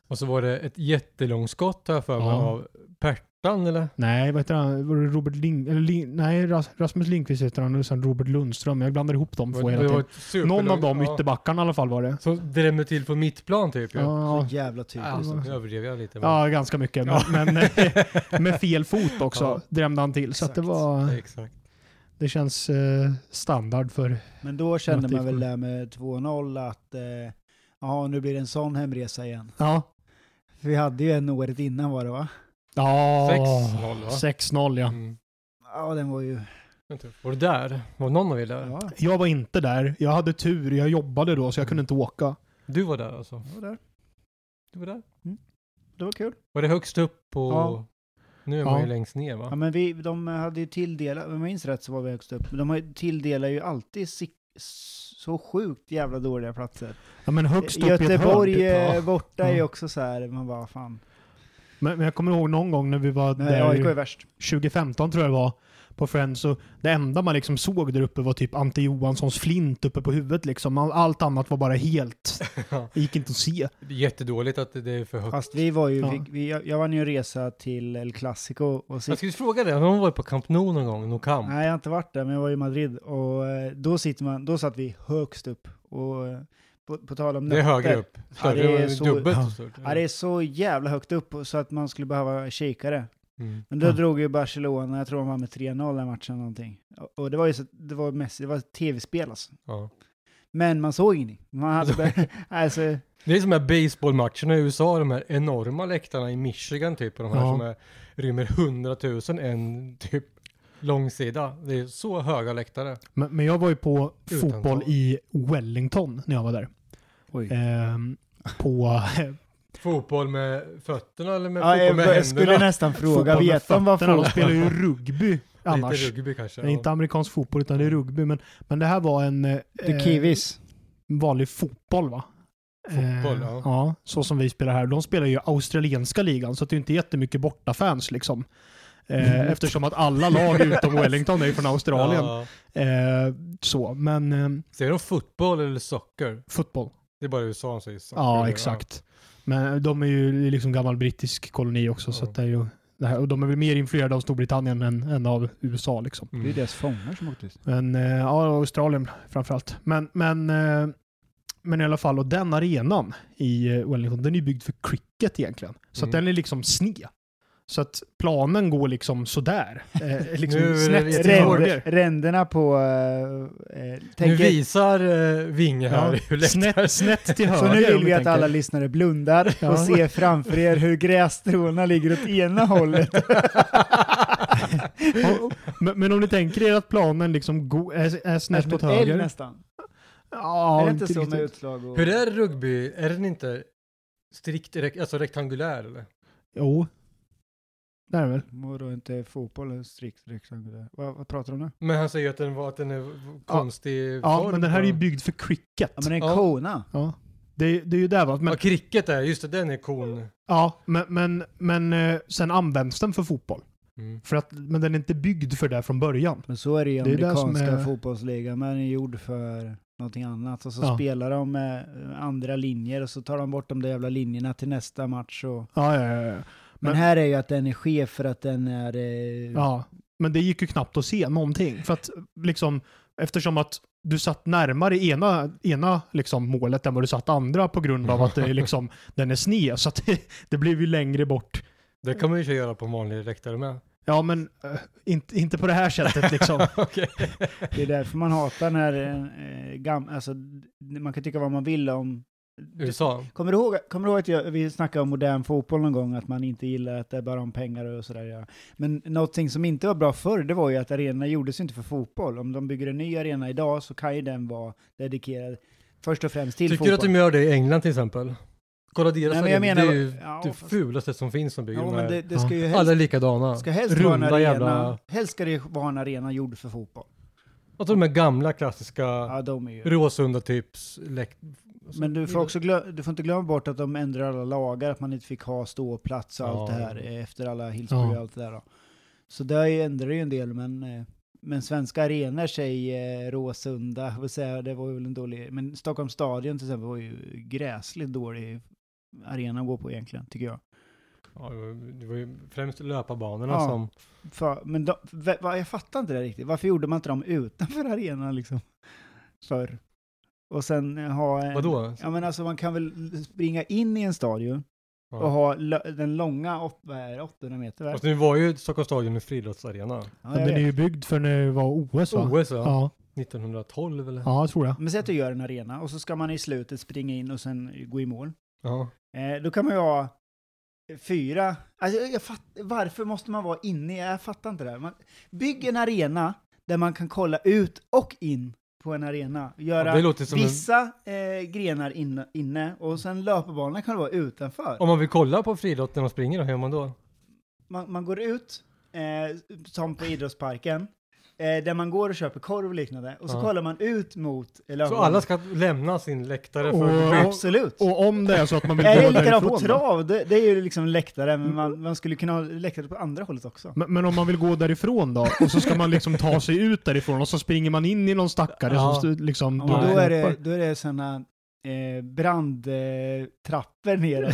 Speaker 1: Och så var det ett jättelångskott här för mig
Speaker 3: Ja.
Speaker 1: av Pertan eller?
Speaker 3: Nej, vad heter han? Var det Robert Ling... Eller Ling nej, Ras- Rasmus Lindqvist heter han och sen Robert Lundström. Jag blandar ihop dem två
Speaker 1: Det
Speaker 3: hela
Speaker 1: var
Speaker 3: tiden.
Speaker 1: ett superlångt-
Speaker 3: Någon av dem,
Speaker 1: ja.
Speaker 3: ytterbackarna i alla fall var det.
Speaker 1: Som drämmer till på mittplan typ ju. Ja.
Speaker 3: Ja,
Speaker 2: Så jävla typiskt.
Speaker 1: Alltså, nu överdrev jag lite. men-
Speaker 3: Ja, ganska mycket. Men, men eh, med fel fot också
Speaker 1: Ja.
Speaker 3: drämde han till. Så att det,
Speaker 2: Exakt.
Speaker 1: Ja,
Speaker 3: var,
Speaker 1: Exakt.
Speaker 3: det känns eh, standard för...
Speaker 2: Men då kände man
Speaker 3: Motiv.
Speaker 2: väl där med 2-0 att eh, jaha, nu blir det en sån hemresa igen.
Speaker 3: Ja.
Speaker 2: För vi hade ju en året innan var det va?
Speaker 3: ja
Speaker 1: 6-0 va?
Speaker 3: 6-0 ja.
Speaker 1: Mm.
Speaker 2: Ja, den var ju...
Speaker 1: Vänta, Var du där? Var någon av er där?
Speaker 2: Ja,
Speaker 3: Jag var inte där. Jag hade tur. Jag jobbade då så jag kunde inte åka.
Speaker 1: Du var där alltså?
Speaker 2: det var, där.
Speaker 1: Du var där?
Speaker 2: Det var kul.
Speaker 1: Var det högst upp på...
Speaker 2: Ja.
Speaker 1: Nu är man
Speaker 3: Ja.
Speaker 1: ju längst ner
Speaker 2: Ja,
Speaker 1: va?
Speaker 2: men vi, de hade ju tilldelat, om jag minns rätt så var vi högst upp, men de har ju- tilldelar ju alltid si- så sjukt jävla dåliga platser.
Speaker 3: Ja, men högst upp
Speaker 2: Göteborg
Speaker 3: i ett hörn,
Speaker 2: eh,
Speaker 3: typ. ja.
Speaker 2: borta är ju
Speaker 3: Ja.
Speaker 2: också så här, man bara fan.
Speaker 3: men, men jag kommer ihåg någon gång när vi var
Speaker 2: Nej, AIK är
Speaker 3: där,
Speaker 2: värst.
Speaker 3: 2015 tror jag det var, på Friends och det enda man liksom såg där uppe var typ Ante Johanssons flint uppe på huvudet liksom. All- Allt annat var bara helt,
Speaker 1: Ja.
Speaker 3: gick inte att se.
Speaker 1: Det är Jättedåligt att det är för högt.
Speaker 2: Fast vi var ju,
Speaker 3: Ja.
Speaker 2: vi, vi, jag jag vann ju en resa till El Clasico och
Speaker 1: Jag
Speaker 2: sitter,
Speaker 1: skulle fråga dig, har någon varit på Camp Nou någon gång? No Camp?
Speaker 2: Nej, jag har inte varit där, men jag var i Madrid och eh, då, sitter man, då satt vi högst upp. Och eh, på, på tal om
Speaker 1: det är
Speaker 2: nötter.
Speaker 1: högre upp.
Speaker 2: Ja,
Speaker 1: Större,
Speaker 2: det är så-
Speaker 1: dubbelt
Speaker 3: Ja.
Speaker 1: så stort.
Speaker 2: Ja, det är så jävla högt upp så att man skulle behöva kikare.
Speaker 1: Mm.
Speaker 2: Men då
Speaker 3: Ja.
Speaker 2: drog ju Barcelona, jag tror de var med 3-0 den matchen eller någonting. Och- Och det var ju så, det var mest, det var ett tv-spel alltså.
Speaker 1: Ja.
Speaker 2: Men man såg ingenting. Man hade bara, alltså,
Speaker 1: Det är som de här baseballmatcherna i USA, de här enorma läktarna i Michigan typ, och de här
Speaker 3: Ja.
Speaker 1: som är, rymmer hundratusen en typ långsida. Det är så höga läktare.
Speaker 3: Men, men jag var ju på
Speaker 1: Utan
Speaker 3: fotboll
Speaker 1: tal.
Speaker 3: i Wellington när jag var där.
Speaker 2: eh,
Speaker 3: Ehm, på,
Speaker 1: Fotboll med fötterna eller med,
Speaker 2: ja,
Speaker 1: fotboll med
Speaker 2: jag
Speaker 1: händerna?
Speaker 2: skulle nästan fråga,
Speaker 3: fotboll med
Speaker 2: vet de vad
Speaker 3: fötterna.
Speaker 2: folk...
Speaker 3: De spelar ju rugby annars.
Speaker 1: Lite rugby kanske.
Speaker 3: Det är inte amerikansk fotboll utan det är rugby. Men, men det här var en eh,
Speaker 2: Det är kiwis.
Speaker 3: vanlig fotboll va?
Speaker 1: Fotboll,
Speaker 3: eh,
Speaker 1: ja.
Speaker 3: ja. Så som vi spelar här. De spelar ju australienska ligan så att det är inte jättemycket bortafans liksom. Eh,
Speaker 2: Mm.
Speaker 3: Eftersom att alla lag utom Wellington är ju från Australien.
Speaker 1: Ja.
Speaker 3: Eh, så, men eh,
Speaker 1: Säger de fotboll eller socker?
Speaker 3: fotboll.
Speaker 1: Det är bara USA som säger socker.
Speaker 3: Ja, exakt. Men de är ju liksom gammal brittisk koloni också så
Speaker 1: Ja.
Speaker 3: att det är ju det här, och de är väl mer influerade av Storbritannien än, än av USA liksom.
Speaker 1: Ja.
Speaker 2: Det är
Speaker 1: Mm.
Speaker 2: deras fångar som åkte ut.
Speaker 3: Men eh, ja, Australien framförallt. Men, men, eh, men i alla fall, och den arenan i eh, Wellington, den är ju byggd för cricket egentligen. Så att
Speaker 1: Mm.
Speaker 3: den är liksom sned. Så att planen går liksom sådär. Eh, liksom
Speaker 1: Nu är det
Speaker 3: snett
Speaker 1: lite
Speaker 3: till
Speaker 1: hårdare.
Speaker 3: höger.
Speaker 2: Ränder, ränderna på... eh, eh,
Speaker 1: Nu
Speaker 2: tänker-
Speaker 1: visar eh, Vinge här
Speaker 3: Ja,
Speaker 1: hur lätt
Speaker 3: Snett, snett till höger.
Speaker 2: Så nu
Speaker 3: om
Speaker 2: vill
Speaker 3: du
Speaker 2: vi att
Speaker 3: tänker.
Speaker 2: alla lyssnare blundar
Speaker 3: Ja.
Speaker 2: och ser framför er hur grässtråna ligger åt ena hållet.
Speaker 3: Ja, men, men om ni tänker er att planen liksom go, är, är snett
Speaker 2: Som
Speaker 3: åt
Speaker 2: ett L
Speaker 3: höger.
Speaker 2: nästan.
Speaker 3: Ja, typ.
Speaker 2: är det inte så med
Speaker 3: riktigt.
Speaker 2: utslag och...
Speaker 1: Hur är rugby? Är den inte strikt rek- alltså rektangulär eller?
Speaker 3: Jo. Det är det väl.
Speaker 2: Mår då inte fotbollen strikt rektangulär? Vad, vad pratar du om nu?
Speaker 1: Men han säger ju att den, var, att den är konstig
Speaker 3: Ja,
Speaker 1: form.
Speaker 3: men den här är ju
Speaker 1: på-
Speaker 3: byggd för cricket.
Speaker 2: Ja men en
Speaker 1: Ja.
Speaker 2: kona.
Speaker 3: Ja. Det, det är ju där va. Men,
Speaker 1: Ja, cricket är, just det, den är kon.
Speaker 3: Ja, men, men, men eh, sen används den för fotboll.
Speaker 1: Mm.
Speaker 3: För att, men den är inte byggd för det från början.
Speaker 2: Men så är det ju i
Speaker 3: Det är det som
Speaker 2: amerikanska
Speaker 3: är-
Speaker 2: fotbollsligan, man är gjord för någonting annat. Och så
Speaker 3: Ja.
Speaker 2: spelar de eh, andra linjer och så tar de bort de där jävla linjerna till nästa match. Och...
Speaker 3: Ja, ja, ja, ja.
Speaker 2: Men,
Speaker 3: Men-
Speaker 2: här är ju att den är skev för att den är... Eh...
Speaker 3: ja. Men det gick ju knappt att se någonting. För att, liksom, eftersom att du satt närmare ena, ena liksom, målet än vad du satt andra på grund av att det, är liksom, den är sned. Så att det, det blev ju längre bort.
Speaker 1: Det kan man ju göra på en vanlig läktare med.
Speaker 3: Ja, men eh, inte, inte på det här sättet liksom.
Speaker 1: Okej.
Speaker 2: Det är därför man hatar när... Eh, gam... alltså, d- man kan tycka vad man vill om...
Speaker 1: USA.
Speaker 2: Kommer du ihåg, kommer du ihåg att jag, vi snackade om modern fotboll någon gång, att man inte gillar att det är bara om pengar och sådär. Ja. Men någonting som inte var bra förr, det var ju att arenorna gjordes ju inte för fotboll. Om de bygger en ny arena idag så kan ju den vara dedikerad först och främst till
Speaker 1: Tycker du
Speaker 2: fotboll.
Speaker 1: att de gör det i England till exempel? Kolla deras
Speaker 2: Nej, men
Speaker 1: arena,
Speaker 2: jag menar-
Speaker 1: det är ju typ
Speaker 2: ja,
Speaker 1: det
Speaker 2: fast-
Speaker 1: fulaste som finns som bygger
Speaker 2: ja,
Speaker 1: de
Speaker 2: men
Speaker 1: här.
Speaker 2: det, det ska ju
Speaker 1: Alla
Speaker 2: helst,
Speaker 1: är likadana.
Speaker 2: ska helst vara en
Speaker 1: Runda
Speaker 2: arena,
Speaker 1: jävla...
Speaker 2: helst ska det vara en arena gjord för fotboll.
Speaker 1: Alltså de här gamla klassiska
Speaker 2: Ja, de är ju...
Speaker 1: Råsunda typs läkt...
Speaker 2: Men du får, också glö- du får inte glömma bort att de ändrar alla lagar, att man inte fick ha ståplats och allt
Speaker 1: Ja.
Speaker 2: det här eh, efter alla Hillsborough
Speaker 3: Ja.
Speaker 2: och allt det där. Då. Så där ändrar det ju en del, men, eh, men svenska arenor, säg eh, Råsunda, jag vill säga, det var ju väl en dålig... Men Stockholms stadion till exempel var ju gräsligt dålig arena att gå på egentligen, tycker jag.
Speaker 1: Ja, det var ju främst löparbanorna
Speaker 2: Ja.
Speaker 1: som...
Speaker 2: För, men de, va- va- jag fattar inte det riktigt, varför gjorde man inte dem utanför arenan liksom? Förr. Och sen eh, ha en...
Speaker 1: Vadå?
Speaker 2: Ja men alltså man kan väl springa in i en stadion
Speaker 1: Ja.
Speaker 2: och ha lö- den långa, åt- vad är det, 800 meter väl?
Speaker 1: Alltså, nu var ju Stockholms stadion en friidrottsarena.
Speaker 2: Ja,
Speaker 3: Men
Speaker 2: jag
Speaker 3: den är
Speaker 2: vet.
Speaker 3: ju byggd för när det var OS va?
Speaker 1: OS ja.
Speaker 3: Ja,
Speaker 1: 1912 eller?
Speaker 3: ja jag tror det.
Speaker 2: men säg att du gör en arena och så ska man i slutet springa in och sen gå i mål.
Speaker 1: Ja.
Speaker 2: Eh, då kan man ju ha fyra, alltså jag, jag fatt, varför måste man vara inne? Jag fattar inte det här. Man, bygg en arena där man kan kolla ut och in på en arena. Göra
Speaker 1: Ja, det låter som en...
Speaker 2: vissa eh, grenar in, inne och sen löparbanorna kan vara utanför.
Speaker 1: Om man vill kolla på friidrott när de springer, då, hur gör man då?
Speaker 2: man, man går ut, eh, som på idrottsparken, eh, där man går och köper korv och liknande. Och så
Speaker 1: Ja.
Speaker 2: kollar man ut mot
Speaker 1: Så
Speaker 2: Lövholmen.
Speaker 1: alla ska lämna sin läktare för
Speaker 3: Och-
Speaker 1: att
Speaker 2: Absolut.
Speaker 3: Och om det är så att man vill gå
Speaker 2: Är det likadant på
Speaker 3: därifrån då?
Speaker 2: trav? Det, det är ju liksom läktare, men man, man skulle kunna ha läktare på andra hållet också.
Speaker 3: Men, men om man vill gå därifrån då? Och så ska man liksom ta sig ut därifrån och så springer man in i någon stackare
Speaker 1: Ja.
Speaker 3: som stu- liksom...
Speaker 2: Ja, men då,
Speaker 3: Nej.
Speaker 2: är det, då är det sådana eh, brandtrappor eh, trappor nere.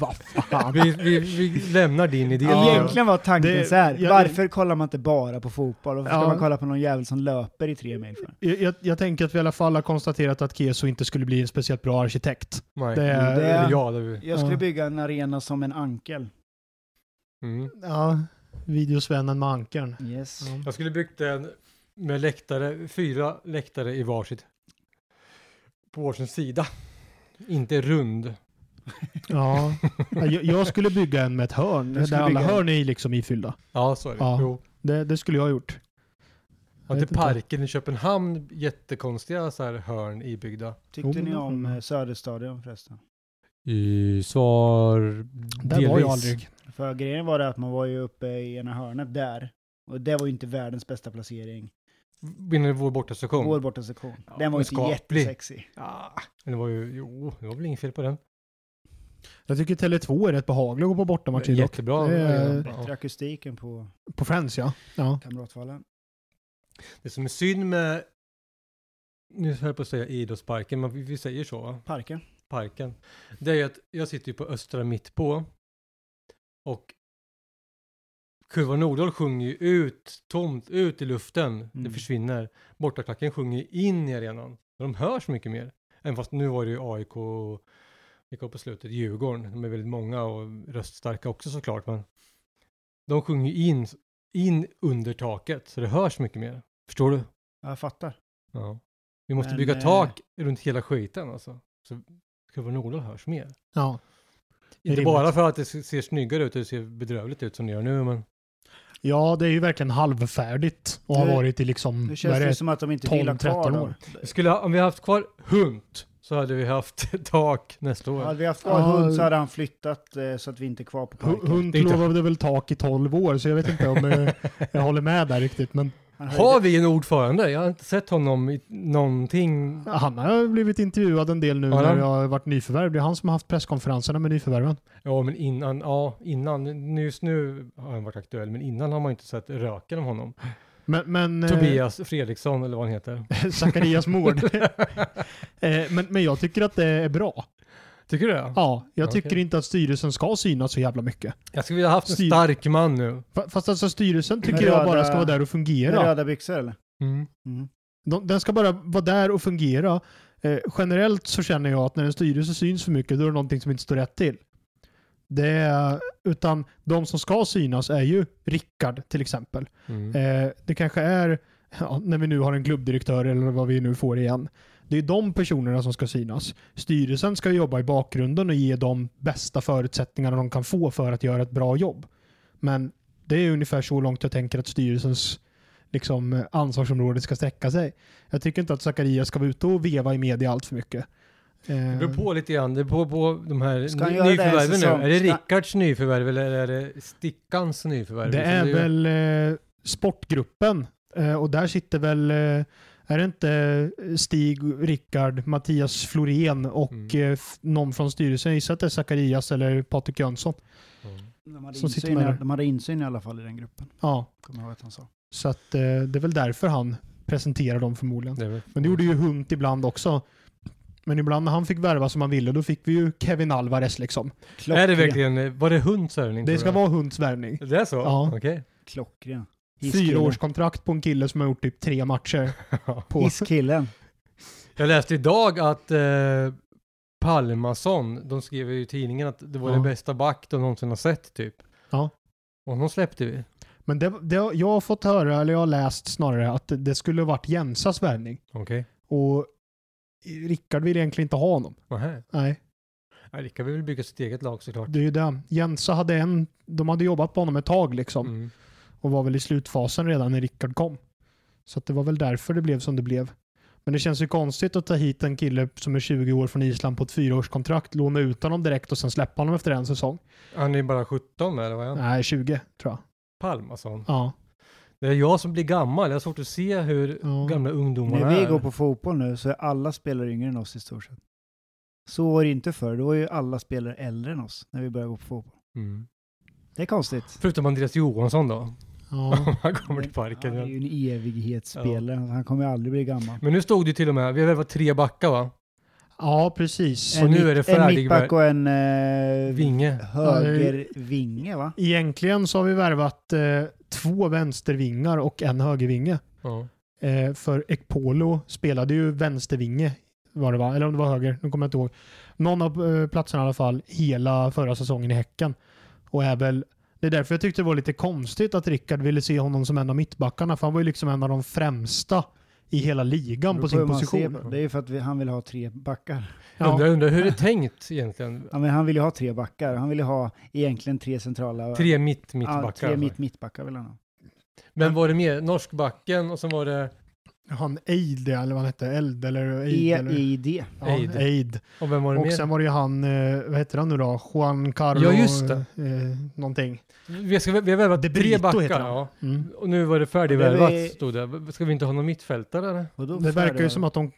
Speaker 3: Vad fan.
Speaker 1: vi, vi, vi lämnar din idé.
Speaker 3: Ja.
Speaker 2: Egentligen var tanken
Speaker 3: Det-
Speaker 2: så här.
Speaker 3: jag-
Speaker 2: varför kollar man inte bara på fotboll? Varför ska
Speaker 3: Ja.
Speaker 2: man kolla på någon jävel som löper i tre mil? För?
Speaker 3: Jag, jag, jag tänker att vi i alla fall har konstaterat att Keso inte skulle bli en speciellt bra arkitekt.
Speaker 1: Nej.
Speaker 3: Det är...
Speaker 2: Det-
Speaker 1: Eller ja, det är vi.
Speaker 2: Jag skulle
Speaker 3: Ja.
Speaker 2: bygga en arena som en ankel.
Speaker 1: Mm.
Speaker 3: Ja, videosvännen med ankern.
Speaker 2: Yes.
Speaker 1: Jag skulle byggt en med läktare, fyra läktare i varsitt. På varsin sida. Inte rund.
Speaker 3: Ja. Ja, Jag, jag skulle bygga en med ett hörn,
Speaker 2: Jag
Speaker 3: där
Speaker 2: skulle
Speaker 3: alla
Speaker 2: bygga en-
Speaker 3: hörn är liksom ifyllda.
Speaker 1: Ja, så är det.
Speaker 3: Ja.
Speaker 1: Jo.
Speaker 3: Det, det skulle jag ha gjort.
Speaker 1: Har
Speaker 3: Jag
Speaker 1: inte
Speaker 3: vet inte.
Speaker 1: parken i Köpenhamn jättekonstiga så här hörn ibyggda?
Speaker 2: Tyckte
Speaker 3: Jo,
Speaker 2: ni
Speaker 3: men-
Speaker 2: om eh, Söderstadion förresten?
Speaker 1: I svar...
Speaker 3: Där var jag aldrig.
Speaker 2: För grejen var det att man var ju uppe i ena hörnet där. Och det var ju inte världens bästa placering.
Speaker 1: Vinner vår bortasektion?
Speaker 2: Vår bortasektion.
Speaker 1: Ja,
Speaker 2: Den var ju
Speaker 1: men
Speaker 2: inte
Speaker 1: skaplig.
Speaker 2: jättesexy.
Speaker 1: Ja, men det var ju... Jo, det var väl inget fel på den.
Speaker 3: Jag tycker Tele2 är rätt behaglig att gå på bortamatcher dock.
Speaker 1: Jättebra.
Speaker 3: Det är-
Speaker 1: Ja.
Speaker 2: Bättre akustik än på
Speaker 3: På Friends ja. ja.
Speaker 2: Kamratvallen.
Speaker 1: Det som är synd med, nu höll jag på att säga idrottsparken, men vi- vi säger så va?
Speaker 2: Parken.
Speaker 1: Parken. Det är ju att jag sitter ju på östra mittpå och Kurva Nordahl sjunger ju ut, tomt ut i luften, det
Speaker 2: Mm.
Speaker 1: försvinner. Bortaklacken sjunger ju in i arenan. De hörs mycket mer. Även fast nu var det ju AIK, och- vilka var på slutet, Djurgården. De är väldigt många och röststarka också såklart. Men de sjunger ju in, in under taket, så det hörs mycket mer. Förstår du?
Speaker 2: Ja, Jag fattar.
Speaker 3: Mm.
Speaker 1: Ja. Vi måste
Speaker 2: Men,
Speaker 1: bygga
Speaker 2: eh,
Speaker 1: tak runt hela skiten alltså. Så Kurva Nordahl hörs mer.
Speaker 3: ja.
Speaker 1: Inte
Speaker 3: Rimligt.
Speaker 1: bara för att det se- ser snyggare ut, det ser bedrövligt ut som det gör nu, men
Speaker 3: Ja, det är ju verkligen halvfärdigt och har
Speaker 2: Nu-
Speaker 3: varit i liksom...
Speaker 2: Nu känns
Speaker 3: vad är
Speaker 2: det som att de inte
Speaker 3: 12,
Speaker 2: vill ha kvar
Speaker 3: 13
Speaker 2: dem.
Speaker 3: år.
Speaker 1: vi skulle, ha- om vi haft kvar hund så hade vi haft tak nästa år.
Speaker 2: Hade vi haft kvar
Speaker 3: Ja.
Speaker 2: hund så hade han flyttat eh, så att vi inte är kvar på
Speaker 3: Hu-
Speaker 2: parken.
Speaker 3: Hund
Speaker 1: Det är inte-
Speaker 3: lovade väl tak i 12 år, så jag vet inte om eh, jag håller med där riktigt. Men
Speaker 2: Han höjde-
Speaker 1: Har vi en ordförande? Jag har inte sett honom i någonting.
Speaker 3: han har blivit intervjuad en del nu
Speaker 1: Har
Speaker 3: när
Speaker 1: han?
Speaker 3: jag har varit nyförvärv. Det är han som har haft presskonferenserna med nyförvärven.
Speaker 1: Ja, men innan, ja, innan, nu- just nu har han varit aktuell, men innan har man inte sett röken om honom.
Speaker 3: Men, men, eh,
Speaker 1: Tobias Fredriksson eller vad han heter.
Speaker 3: Zacharias mord. Eh, men, men jag tycker att det är bra.
Speaker 1: Tycker du det?
Speaker 3: Ja, jag
Speaker 1: Okej.
Speaker 3: tycker inte att styrelsen ska synas så jävla mycket.
Speaker 1: Jag skulle vilja haft en
Speaker 3: Styr-
Speaker 1: stark man nu.
Speaker 3: Fa- Fast alltså styrelsen tycker
Speaker 2: Med
Speaker 3: jag
Speaker 2: röda-
Speaker 3: bara ska vara där och
Speaker 2: med
Speaker 3: fungera.
Speaker 2: röda byxor eller?
Speaker 1: Mm.
Speaker 2: Mm.
Speaker 3: De, den ska bara vara där och fungera. Eh, generellt så känner jag att när en styrelse syns för mycket, då är det någonting som inte står rätt till. Det är, utan de som ska synas är ju Rickard till exempel.
Speaker 1: Mm.
Speaker 3: Eh, det kanske är, ja, när vi nu har en klubbdirektör eller vad vi nu får igen. Det är de personerna som ska synas. Styrelsen ska jobba i bakgrunden och ge dem bästa förutsättningarna de kan få för att göra ett bra jobb. Men det är ungefär så långt jag tänker att styrelsens liksom, eh, ansvarsområde ska sträcka sig. Jag tycker inte att Zacharias ska vara ute och veva i media allt för mycket.
Speaker 1: Det
Speaker 3: Eh,
Speaker 1: beror på lite grann. Det beror på de här
Speaker 2: Ska han
Speaker 1: ny-
Speaker 2: göra det en
Speaker 1: nyförvärven nu.
Speaker 2: säsong?
Speaker 1: Är det
Speaker 2: Ska-
Speaker 1: Rickards nyförvärv eller är det Stickans nyförvärv?
Speaker 3: Det
Speaker 1: Liksom,
Speaker 3: är
Speaker 1: ju-
Speaker 3: väl eh, sportgruppen eh, och där sitter väl, eh, är det inte eh, Stig, Rickard, Mattias Florén och
Speaker 1: Mm.
Speaker 3: eh, f- någon från styrelsen? Jag gissar att det är Zacharias eller Patrik Jönsson.
Speaker 1: Mm.
Speaker 2: De hade,
Speaker 3: Som sitter
Speaker 2: insyn,
Speaker 3: med
Speaker 2: i-
Speaker 3: det.
Speaker 2: de hade insyn i alla fall i den gruppen.
Speaker 3: Ja,
Speaker 2: Kommer jag ihåg att han sa.
Speaker 3: så att eh, det är väl därför han presenterar dem förmodligen.
Speaker 1: Det är väl-
Speaker 3: Men det gjorde ju Hunt ibland också. Men ibland när han fick värva som han ville, då fick vi ju Kevin Alvarez liksom.
Speaker 1: Är det verkligen, var det hunds övning?
Speaker 3: Det
Speaker 1: tror
Speaker 3: ska
Speaker 1: jag?
Speaker 3: vara Hunts värvning.
Speaker 1: Det är så?
Speaker 3: Ja.
Speaker 1: Okej.
Speaker 2: Klockren.
Speaker 3: Fyra års kontrakt på en kille som har gjort typ tre matcher. På.
Speaker 2: Hisskillen.
Speaker 1: Jag läste idag att eh, Palmason, de skrev ju i tidningen att det var
Speaker 3: Ja.
Speaker 1: den bästa back de någonsin har sett typ.
Speaker 3: Ja.
Speaker 1: Och honom släppte vi.
Speaker 3: Men det, det, jag har fått höra, eller jag har läst snarare, att det skulle ha varit Jensas värvning.
Speaker 1: Okej.
Speaker 3: Och Rickard vill egentligen inte ha honom.
Speaker 1: Okay.
Speaker 3: Nej,
Speaker 1: Rickard vill väl bygga sitt eget lag såklart.
Speaker 3: det är ju det. Jensa hade en, de hade jobbat på honom ett tag liksom.
Speaker 1: Mm.
Speaker 3: Och var väl i slutfasen redan när Rickard kom. Så att det var väl därför det blev som det blev. Men det känns ju konstigt att ta hit en kille som är 20 år från Island på ett fyraårskontrakt, låna ut honom direkt och sen släppa honom efter en säsong.
Speaker 1: Han är bara 17 eller vad är han?
Speaker 3: Nej, 20 tror jag.
Speaker 1: Palmason.
Speaker 3: Ja.
Speaker 1: Det är jag som blir gammal, jag har svårt att se hur
Speaker 3: Ja.
Speaker 1: gamla ungdomarna
Speaker 2: När vi
Speaker 1: är.
Speaker 2: Mm. går på fotboll nu så är alla spelare yngre än oss i stort sett. Så var det inte förr. Då var ju alla spelare äldre än oss när vi började gå på fotboll.
Speaker 1: Mm.
Speaker 2: Det är konstigt.
Speaker 1: Förutom Andreas Johansson då,
Speaker 3: Ja.
Speaker 1: han kommer till
Speaker 2: Han
Speaker 1: parken.
Speaker 2: är
Speaker 1: igen.
Speaker 2: ju en evighetsspelare. Han kommer ju aldrig bli gammal.
Speaker 1: Men nu stod det ju till och med, vi har värvat tre backar va?
Speaker 3: ja, precis.
Speaker 1: En- nu är det
Speaker 2: mitt- En
Speaker 1: färdig-
Speaker 2: mittback och en eh,
Speaker 1: Vinge.
Speaker 2: högervinge va?
Speaker 3: Egentligen så har vi värvat eh, två vänstervingar och en högervinge.
Speaker 1: Ja.
Speaker 3: Eh, för Ekpolo spelade ju vänstervinge, var det va? Eller om det var höger, nu kommer jag inte ihåg. Någon av eh, platserna i alla fall, hela förra säsongen i Häcken. Och är väl, det är därför jag tyckte det var lite konstigt att Rickard ville se honom som en av mittbackarna, för han var ju liksom en av de främsta i hela ligan på
Speaker 2: Beror
Speaker 3: sin
Speaker 2: hur man ser
Speaker 3: position.
Speaker 2: på det. Det är ju för att vi, han vill ha tre backar.
Speaker 3: Ja,
Speaker 1: Undrar, undrar hur det är tänkt egentligen?
Speaker 2: Ja, men han vill ju ha tre backar. Han vill ju ha egentligen tre centrala...
Speaker 1: Tre mitt,
Speaker 2: Ja,
Speaker 1: mittbackar.
Speaker 2: tre
Speaker 1: alltså.
Speaker 2: mitt, mittbackar vill han ha.
Speaker 1: Men var det mer norskbacken och sen var det,
Speaker 3: han Eid, eller vad han hette, Eld eller Eid.
Speaker 2: E-
Speaker 3: eller,
Speaker 2: EID.
Speaker 3: ja,
Speaker 1: Eid.
Speaker 3: Eid.
Speaker 1: och vem var det
Speaker 3: Och
Speaker 1: mer?
Speaker 3: sen var det ju han, eh, vad heter han nu då? Juan Carlo...
Speaker 1: Ja, just det.
Speaker 3: Eh, någonting.
Speaker 1: Vi, ska, vi har värvat
Speaker 3: De
Speaker 1: tre
Speaker 3: Brito
Speaker 1: backar.
Speaker 3: heter han.
Speaker 1: Ja.
Speaker 3: Mm.
Speaker 1: Och nu var det färdigvärvat
Speaker 2: Det är vi-
Speaker 1: stod det. Ska vi inte ha någon mittfältare eller?
Speaker 2: Och då
Speaker 3: Det verkar ju
Speaker 2: föredrar-
Speaker 3: som att de v-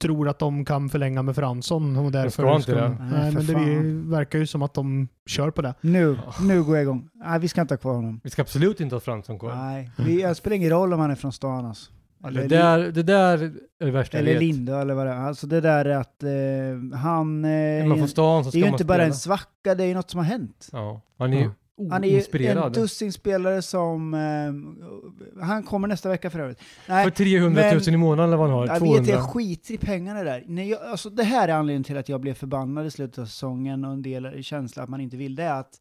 Speaker 3: tror att de kan förlänga med Fransson och därför...
Speaker 1: ska inte det.
Speaker 3: Nej,
Speaker 2: Nej, för
Speaker 3: men det
Speaker 2: fan.
Speaker 3: verkar ju som att de kör på det.
Speaker 2: Nu,
Speaker 1: Ja.
Speaker 2: nu går jag igång. Nej, vi ska inte ha kvar honom.
Speaker 1: Vi ska absolut inte ha Fransson kvar.
Speaker 2: Nej, vi, jag spelar ingen roll om han är från stan alltså.
Speaker 1: Ja,
Speaker 2: Eller,
Speaker 1: Det där, det där är det värsta
Speaker 2: eller
Speaker 1: jag vet.
Speaker 2: Lindö eller vad det är. Alltså det där är att eh, han... Eh,
Speaker 1: Är man från stan så
Speaker 2: det
Speaker 1: ska
Speaker 2: är ju
Speaker 1: man
Speaker 2: inte
Speaker 1: spela.
Speaker 2: bara en svacka, det är ju något som har hänt.
Speaker 1: Ja. Han är ju
Speaker 2: Han är ju en
Speaker 1: oinspirerad.
Speaker 2: dussin spelare som... Eh, han kommer nästa vecka för övrigt.
Speaker 1: För
Speaker 2: Nej,
Speaker 1: 300 000 i
Speaker 2: men-
Speaker 1: månaden eller vad han har.
Speaker 2: jag vet,
Speaker 1: 200.
Speaker 2: jag skiter i pengarna där. Nej, jag, alltså, det här är anledningen till att jag blev förbannad i slutet av säsongen och en del känsla att man inte vill. Det är att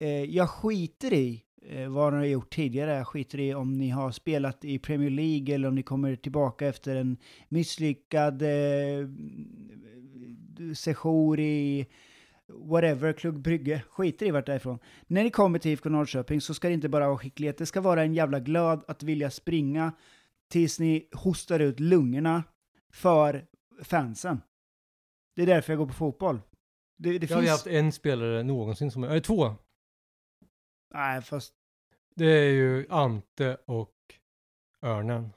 Speaker 2: eh, jag skiter i eh, vad ni har gjort tidigare. Jag skiter i om ni har spelat i Premier League eller om ni kommer tillbaka efter en misslyckad eh, sejour i whatever, Klubb Brygge. Skiter i vart det är ifrån. När ni kommer till IFK Norrköping så ska det inte bara vara skicklighet, det ska vara en jävla glöd att vilja springa tills ni hostar ut lungorna för fansen. Det är därför jag går på fotboll. Det, det
Speaker 1: Jag har ju
Speaker 2: finns...
Speaker 1: haft en spelare någonsin som är... Äh, två.
Speaker 2: Nej, fast
Speaker 1: Det är ju Ante och Örnen.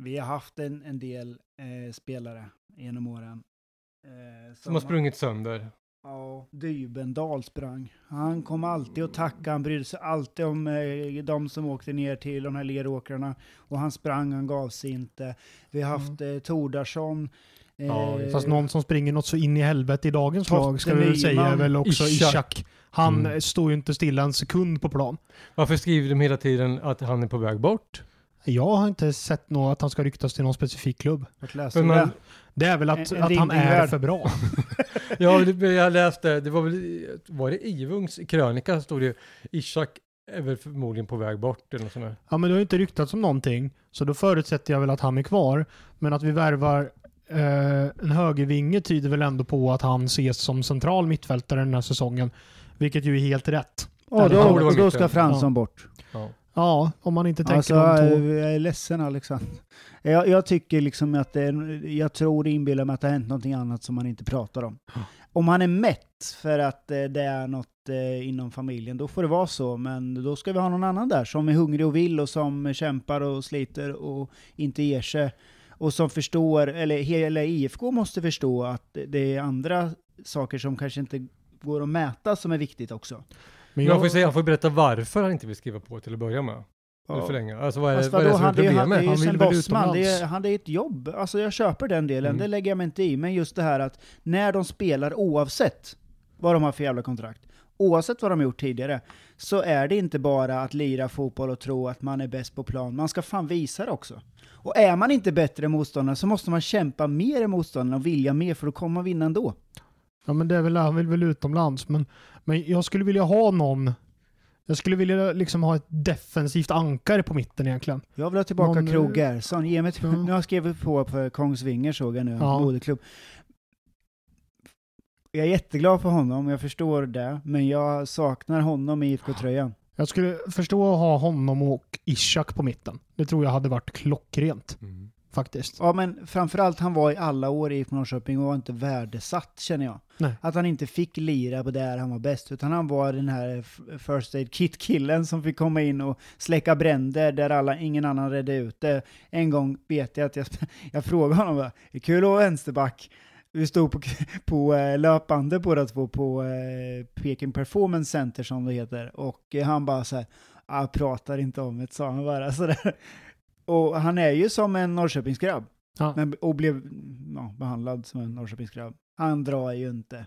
Speaker 2: vi har haft en, en del eh, spelare genom åren. Eh,
Speaker 1: Som har sprungit sönder.
Speaker 2: Ja, Dybendal sprang. Han kom alltid och tackade, han brydde sig alltid om eh, de som åkte ner till de här leråkrarna. Och han sprang, han gav sig inte. Vi har haft eh, Tordarsson. Eh,
Speaker 1: Mm. Ja, just det.
Speaker 3: Fast någon som springer något så in i helvete i dagens
Speaker 2: Torsten
Speaker 3: lag ska vi väl säga
Speaker 2: Nyman.
Speaker 3: är väl också
Speaker 1: Ishak.
Speaker 3: Ishak. Han
Speaker 1: Mm.
Speaker 3: eh, står ju inte stilla en sekund på plan.
Speaker 1: Varför skriver de hela tiden att han är på väg bort?
Speaker 3: Jag har inte sett något att han ska ryktas till någon specifik klubb.
Speaker 2: vart läste
Speaker 1: För
Speaker 2: du
Speaker 1: man-
Speaker 2: det?
Speaker 3: Det är väl att,
Speaker 2: En- en
Speaker 3: att han är
Speaker 2: Lindingvärd.
Speaker 3: för bra.
Speaker 1: Ja, det- jag läste, det var väl, var det Ivungs krönika stod det Ishak är väl förmodligen på väg bort eller något sånt där.
Speaker 3: Ja men det har ju inte ryktats om någonting, så då förutsätter jag väl att han är kvar. Men att vi värvar eh, en högervinge tyder väl ändå på att han ses som central mittfältare den här säsongen. Vilket ju är helt rätt.
Speaker 2: Ja,
Speaker 1: det borde
Speaker 2: då,
Speaker 1: vara
Speaker 2: då
Speaker 1: mitt,
Speaker 2: ska
Speaker 1: ja.
Speaker 2: Fransson bort.
Speaker 1: Ja.
Speaker 3: Ja, om man inte tänker
Speaker 2: Alltså,
Speaker 3: de två.
Speaker 2: jag är ledsen Alexander. Jag, jag tycker liksom att det, är- jag tror det inbillar mig att det har hänt någonting annat som man inte pratar om. Om han är mätt för att eh, det är något eh, inom familjen, då får det vara så. Men då ska vi ha någon annan där som är hungrig och vill och som kämpar och sliter och inte ger sig. Och som förstår, eller hela IFK måste förstå att det är andra saker som kanske inte går att mäta som är viktigt också.
Speaker 1: Men
Speaker 3: Men
Speaker 1: jag
Speaker 3: jag,
Speaker 1: får ju säga, han får ju berätta varför han inte vill skriva på till att börja med. Eller
Speaker 2: Ja.
Speaker 1: förlänga. Alltså vad är,
Speaker 2: Fast
Speaker 1: vad är
Speaker 2: vadå,
Speaker 1: det som är
Speaker 2: han, det, är- han, det är
Speaker 1: problemet?
Speaker 2: ju
Speaker 3: Han vill
Speaker 2: sen
Speaker 3: väl
Speaker 2: Bosman, det är,
Speaker 3: utomlands?
Speaker 2: han det är ett jobb. Alltså jag köper den delen,
Speaker 1: Mm.
Speaker 2: det lägger jag mig inte i. Men just det här att när de spelar, oavsett vad de har för jävla kontrakt, oavsett vad de har gjort tidigare, så är det inte bara att lira fotboll och tro att man är bäst på plan. Man ska fan visa det också. Och är man inte bättre än motståndaren så måste man kämpa mer än motståndaren och vilja mer för då kommer man vinna ändå.
Speaker 3: ja, men det är väl, han vill väl utomlands. Men, men jag skulle vilja ha någon. Jag skulle vilja liksom ha ett defensivt ankare på mitten egentligen.
Speaker 2: Jag vill ha tillbaka
Speaker 3: Någon- eh,
Speaker 2: Krog Gerson. Ge mig ett-
Speaker 3: Ja.
Speaker 2: Nu har jag skrivit på för Kongsvinger såg jag nu,
Speaker 3: Ja.
Speaker 2: hans moderklubb. Jag är jätteglad för honom, jag förstår det, men jag saknar honom i IFK-tröjan.
Speaker 3: Jag skulle förstå att ha honom och Ishak på mitten. Det tror jag hade varit klockrent.
Speaker 1: Mm.
Speaker 3: faktiskt.
Speaker 2: Ja, men framförallt han var i alla år i IFK Norrköping och var inte värdesatt känner jag.
Speaker 3: Nej.
Speaker 2: Att han inte fick lira på där han var bäst, utan han var den här f- First Aid Kit-killen som fick komma in och släcka bränder där alla, ingen annan redde ut det. En gång vet jag att jag, jag frågade honom, bara, "Är kul att vara vänsterback. Vi stod på, på eh, löpande båda två på eh, Peking Performance Center som det heter och eh, han bara så här, jag pratar inte om det, sa han bara sådär. Och han är ju som en Norrköpingsgrabb.
Speaker 3: Ja.
Speaker 2: Men, och blev ja, behandlad som en Norrköpingsgrabb. Han drar ju inte.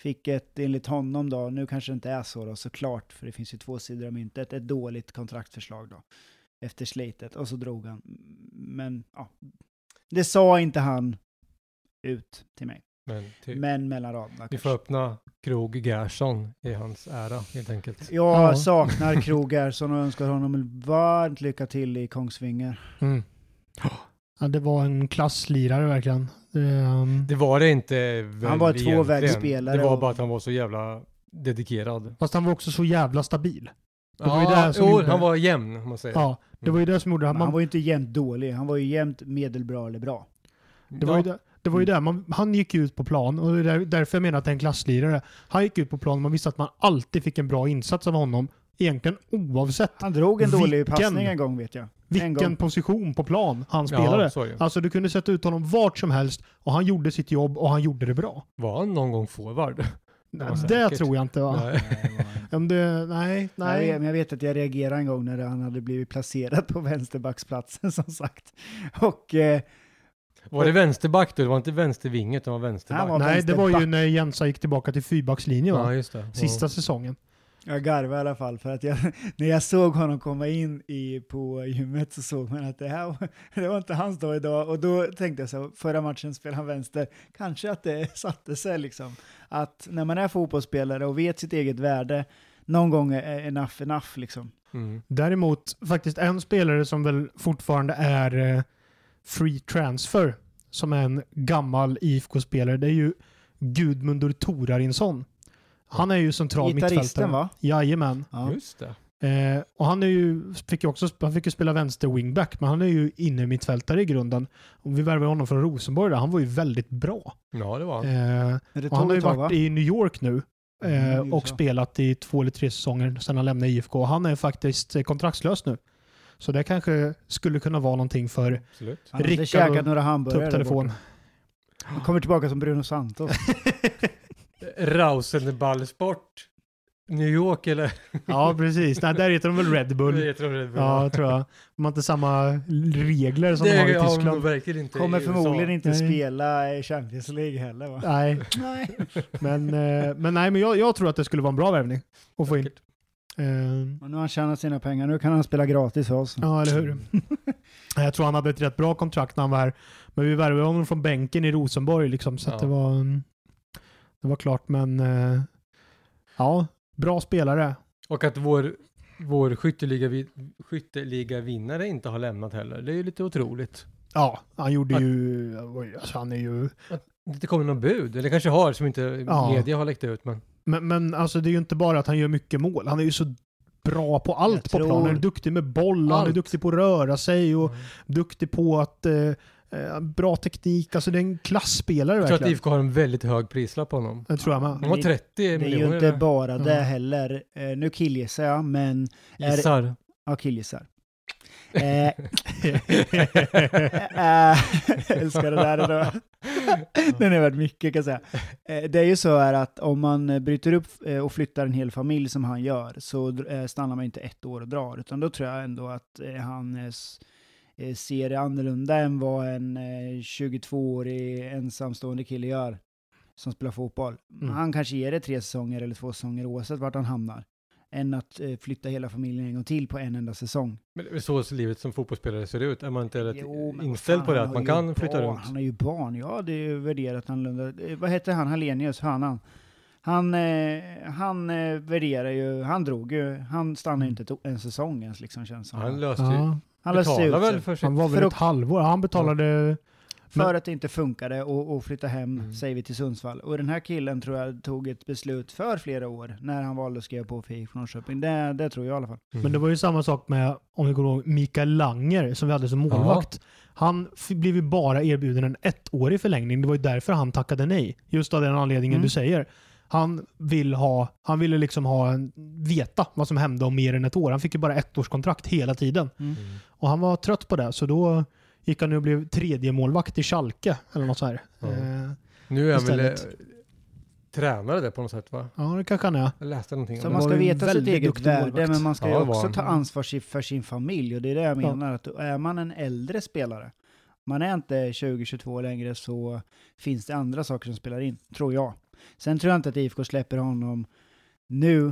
Speaker 2: Fick ett, enligt honom då, nu kanske det inte är så då såklart, för det finns ju två sidor av myntet, ett dåligt kontraktförslag då. Efter slitet, och så drog han. Men ja, det sa inte han ut till mig.
Speaker 1: Men typ,
Speaker 2: Men mellan raderna
Speaker 1: vi
Speaker 2: kanske.
Speaker 1: får öppna krog Gerson i hans ära helt enkelt.
Speaker 2: Jag
Speaker 3: Ja.
Speaker 2: saknar Krogersson och önskar honom varmt lycka till i Kongsvinger.
Speaker 3: Mm. Ja, det var en klasslirare verkligen. Ehm,
Speaker 1: Det var det inte väl
Speaker 2: Han var
Speaker 1: egentligen.
Speaker 2: tvåvägsspelare
Speaker 1: Det var
Speaker 2: och-
Speaker 1: bara att han var så jävla dedikerad.
Speaker 3: Fast han var också så jävla stabil.
Speaker 1: Det
Speaker 3: var ju det här som
Speaker 1: jo,
Speaker 3: gjorde-
Speaker 1: han var jämn om man säger.
Speaker 3: Ja, det var ju det som gjorde det.
Speaker 2: Men han
Speaker 3: Man,
Speaker 2: var ju inte jämt dålig, han var ju jämt medelbra eller bra.
Speaker 3: det var ju det, det, var ju det. Man, han gick ju ut på plan och det är där- därför jag menar att det är en klasslirare. Han gick ut på plan och man visste att man alltid fick en bra insats av honom. Egentligen oavsett
Speaker 2: Han drog en dålig
Speaker 3: Vilken-
Speaker 2: passning en gång vet jag. En
Speaker 3: vilken
Speaker 2: gång.
Speaker 3: position på plan han
Speaker 1: Ja,
Speaker 3: spelade.
Speaker 1: så är det.
Speaker 3: Alltså du kunde sätta ut honom vart som helst och han gjorde sitt jobb och han gjorde det bra.
Speaker 1: Var han någon gång forward? Det var
Speaker 3: det
Speaker 1: säkert.
Speaker 3: tror jag inte va?
Speaker 1: Nej.
Speaker 3: Om det, nej,
Speaker 2: Nej.
Speaker 3: nej.
Speaker 2: men jag vet att jag reagerade en gång när han hade blivit placerad på vänsterbacksplatsen som sagt. Och eh,
Speaker 1: Var det vänsterback då? Det var inte vänstervinge utan det var vänsterback.
Speaker 2: Han var-
Speaker 3: Nej, det var ju
Speaker 2: vänsterback.
Speaker 3: när Jensa gick tillbaka till fyrbackslinjen va?
Speaker 1: Ja, just det.
Speaker 3: Sista säsongen.
Speaker 2: jag garvade i alla fall för att jag, när jag såg honom komma in i, på gymmet så såg man att det här var- det var inte hans dag idag. Och då tänkte jag så här, förra matchen spelade han vänster, kanske att det satte sig liksom. Att när man är fotbollsspelare och vet sitt eget värde, någon gång är enough enough liksom.
Speaker 1: Ja. Mm.
Speaker 3: Däremot faktiskt en spelare som väl fortfarande är eh, free transfer, som är en gammal IFK-spelare, det är ju Gudmundur Torarinsson. Han är ju central mittfältare. Mm.
Speaker 2: Gitarristen va?
Speaker 3: Jajamän.
Speaker 2: Ja.
Speaker 1: Just det.
Speaker 3: Eh, och han, är ju, fick ju också, han fick ju spela vänster wingback, men han är ju inne mittfältare i grunden. Och vi värvade honom från Rosenborg där. Han var ju väldigt bra.
Speaker 1: Ja, det var han.
Speaker 3: Eh,
Speaker 2: Men det
Speaker 3: och han har
Speaker 2: tog
Speaker 3: ju
Speaker 2: ett tag
Speaker 3: varit
Speaker 2: va?
Speaker 3: i New York nu eh,
Speaker 2: Mm,
Speaker 3: och
Speaker 2: så.
Speaker 3: spelat i två eller tre säsonger sedan han lämnade IFK. Och Han är faktiskt eh, kontraktslös nu. Så det kanske skulle kunna vara någonting för
Speaker 1: Absolut.
Speaker 2: Han hade
Speaker 3: Rickard
Speaker 2: käkat
Speaker 3: och-
Speaker 2: några
Speaker 3: ta
Speaker 2: hamburgare
Speaker 3: upp
Speaker 2: där borta.
Speaker 3: telefon.
Speaker 2: Han kommer tillbaka som Bruno Santos.
Speaker 1: Rausenballsport. New York eller?
Speaker 3: ja, precis. Nej, där heter de väl Red Bull.
Speaker 1: Jag tror det är bra.
Speaker 3: Ja, tror jag. De har inte samma regler som
Speaker 1: det
Speaker 3: de har i
Speaker 1: har de nog
Speaker 3: Tyskland.
Speaker 1: verkligen inte
Speaker 2: Kommer
Speaker 1: i USA.
Speaker 2: förmodligen inte
Speaker 3: Nej.
Speaker 2: spela i Champions League heller va?
Speaker 3: Nej,
Speaker 2: Nej.
Speaker 3: men, eh, men, nej, men jag, jag tror att det skulle vara en bra värvning att få in.
Speaker 1: Säkert.
Speaker 3: Eh,
Speaker 2: Och nu har han tjänat sina pengar, nu kan han spela gratis för oss.
Speaker 3: Ja, eller hur? Jag tror han hade ett rätt bra kontrakt när han var här. Men vi värvade honom från bänken i Rosenborg liksom, så att
Speaker 1: Ja.
Speaker 3: det, var, mm, det var klart. Men eh, ja, bra spelare.
Speaker 1: Och att vår, vår skytteliga, vi- skytteliga vinnare inte har lämnat heller. Det är ju lite otroligt.
Speaker 3: Ja, han gjorde
Speaker 1: Att-
Speaker 3: ju... oj, Alltså, han är ju...
Speaker 1: Det inte kommer någon bud. Eller kanske har, som inte
Speaker 3: Ja.
Speaker 1: media har läckt ut. Men
Speaker 3: Men, men alltså, det är ju inte bara att han gör mycket mål. Han är ju så bra på allt på
Speaker 2: tror-
Speaker 3: planen. Han är duktig med boll, han är
Speaker 1: Allt.
Speaker 3: duktig på att röra sig
Speaker 1: Mm.
Speaker 3: och duktig på att... Eh, eh, bra teknik. Alltså det är en klassspelare
Speaker 1: jag tror att
Speaker 3: verkligen.
Speaker 1: IFK har en väldigt hög prislapp på honom.
Speaker 3: Det tror jag med.
Speaker 1: De har
Speaker 2: det-
Speaker 1: 30
Speaker 2: Det är
Speaker 1: miljoner.
Speaker 2: ju inte bara det
Speaker 3: Ja.
Speaker 2: heller. Eh, nu killgissar jag, men... är-
Speaker 1: Gissar.
Speaker 2: Ja, killgissar. Eh, eh, älskar det där ändå. Den är värd mycket kan jag säga. Eh, Det är ju så här att om man eh, bryter upp eh, och flyttar en hel familj som han gör så dr- eh, stannar man inte ett år och drar. Utan då tror jag ändå att eh, han eh, s- eh, ser det annorlunda än vad en eh, 22-årig ensamstående kille gör som spelar fotboll.
Speaker 3: Mm.
Speaker 2: Han kanske ger det tre säsonger eller två säsonger oavsett vart han hamnar. Än att eh, flytta hela familjen en gång till på en enda säsong.
Speaker 1: Men det är så ser livet som fotbollsspelare ser ut. Är man inte rätt
Speaker 2: Jo, men
Speaker 1: inställd
Speaker 2: fan,
Speaker 1: på det? Att
Speaker 2: han har
Speaker 1: man kan
Speaker 2: ju
Speaker 1: flytta
Speaker 2: barn.
Speaker 1: runt?
Speaker 2: Han har ju barn, ja det är ju värderat annorlunda. Eh, Vad hette han, Hallenius, hönan? Han, eh, han eh, värderar ju, han drog ju, han stannade ju inte to- en säsong ens liksom känns som.
Speaker 1: Mm. Han
Speaker 2: Han,
Speaker 1: löste ju...
Speaker 3: Ja.
Speaker 2: han löste
Speaker 1: betalar
Speaker 2: ut
Speaker 1: väl
Speaker 2: sig.
Speaker 1: för sitt...
Speaker 3: Han var väl
Speaker 2: För
Speaker 3: ett halvår. Han betalade
Speaker 2: För
Speaker 3: Men-
Speaker 2: att det inte funkade och, och flytta hem,
Speaker 1: Mm.
Speaker 2: säger vi, till Sundsvall. Och den här killen tror jag tog ett beslut för flera år när han valde att skriva på för IFK Norrköping. Det, det tror jag i alla fall.
Speaker 3: Men det
Speaker 1: Mm.
Speaker 3: var ju samma sak med, om vi kommer ihåg, Mikael Langer som vi hade som målvakt. Han f- blev ju bara erbjuden en ettårig förlängning. Det var ju därför han tackade nej. Just av den anledningen
Speaker 2: Mm.
Speaker 3: du säger. Han, vill ha, han ville liksom ha en, veta vad som hände om mer än ett år. Han fick ju bara ett års kontrakt hela tiden.
Speaker 1: Mm.
Speaker 3: Och han var trött på det, så då gick han nu och blev tredje målvakt i Schalke eller något så här.
Speaker 1: Ja.
Speaker 3: Eh,
Speaker 1: Nu är han väl eh,
Speaker 3: Istället.
Speaker 1: tränare där på något sätt va?
Speaker 3: ja, det kanske han är.
Speaker 1: Jag läste någonting
Speaker 2: Så
Speaker 1: om
Speaker 3: han
Speaker 1: det.
Speaker 2: man ska
Speaker 3: var ju en
Speaker 2: veta sitt
Speaker 3: väldigt
Speaker 2: eget
Speaker 3: duktig
Speaker 2: värde,
Speaker 3: målvakt.
Speaker 2: men man ska ju
Speaker 1: Ja, det var
Speaker 2: också
Speaker 1: han.
Speaker 2: ta ansvar si- för sin familj. Och det är det jag
Speaker 3: Ja.
Speaker 2: menar, att är man en äldre spelare, man är inte 20-22 längre, så finns det andra saker som spelar in, tror jag. Sen tror jag inte att IFK släpper honom nu,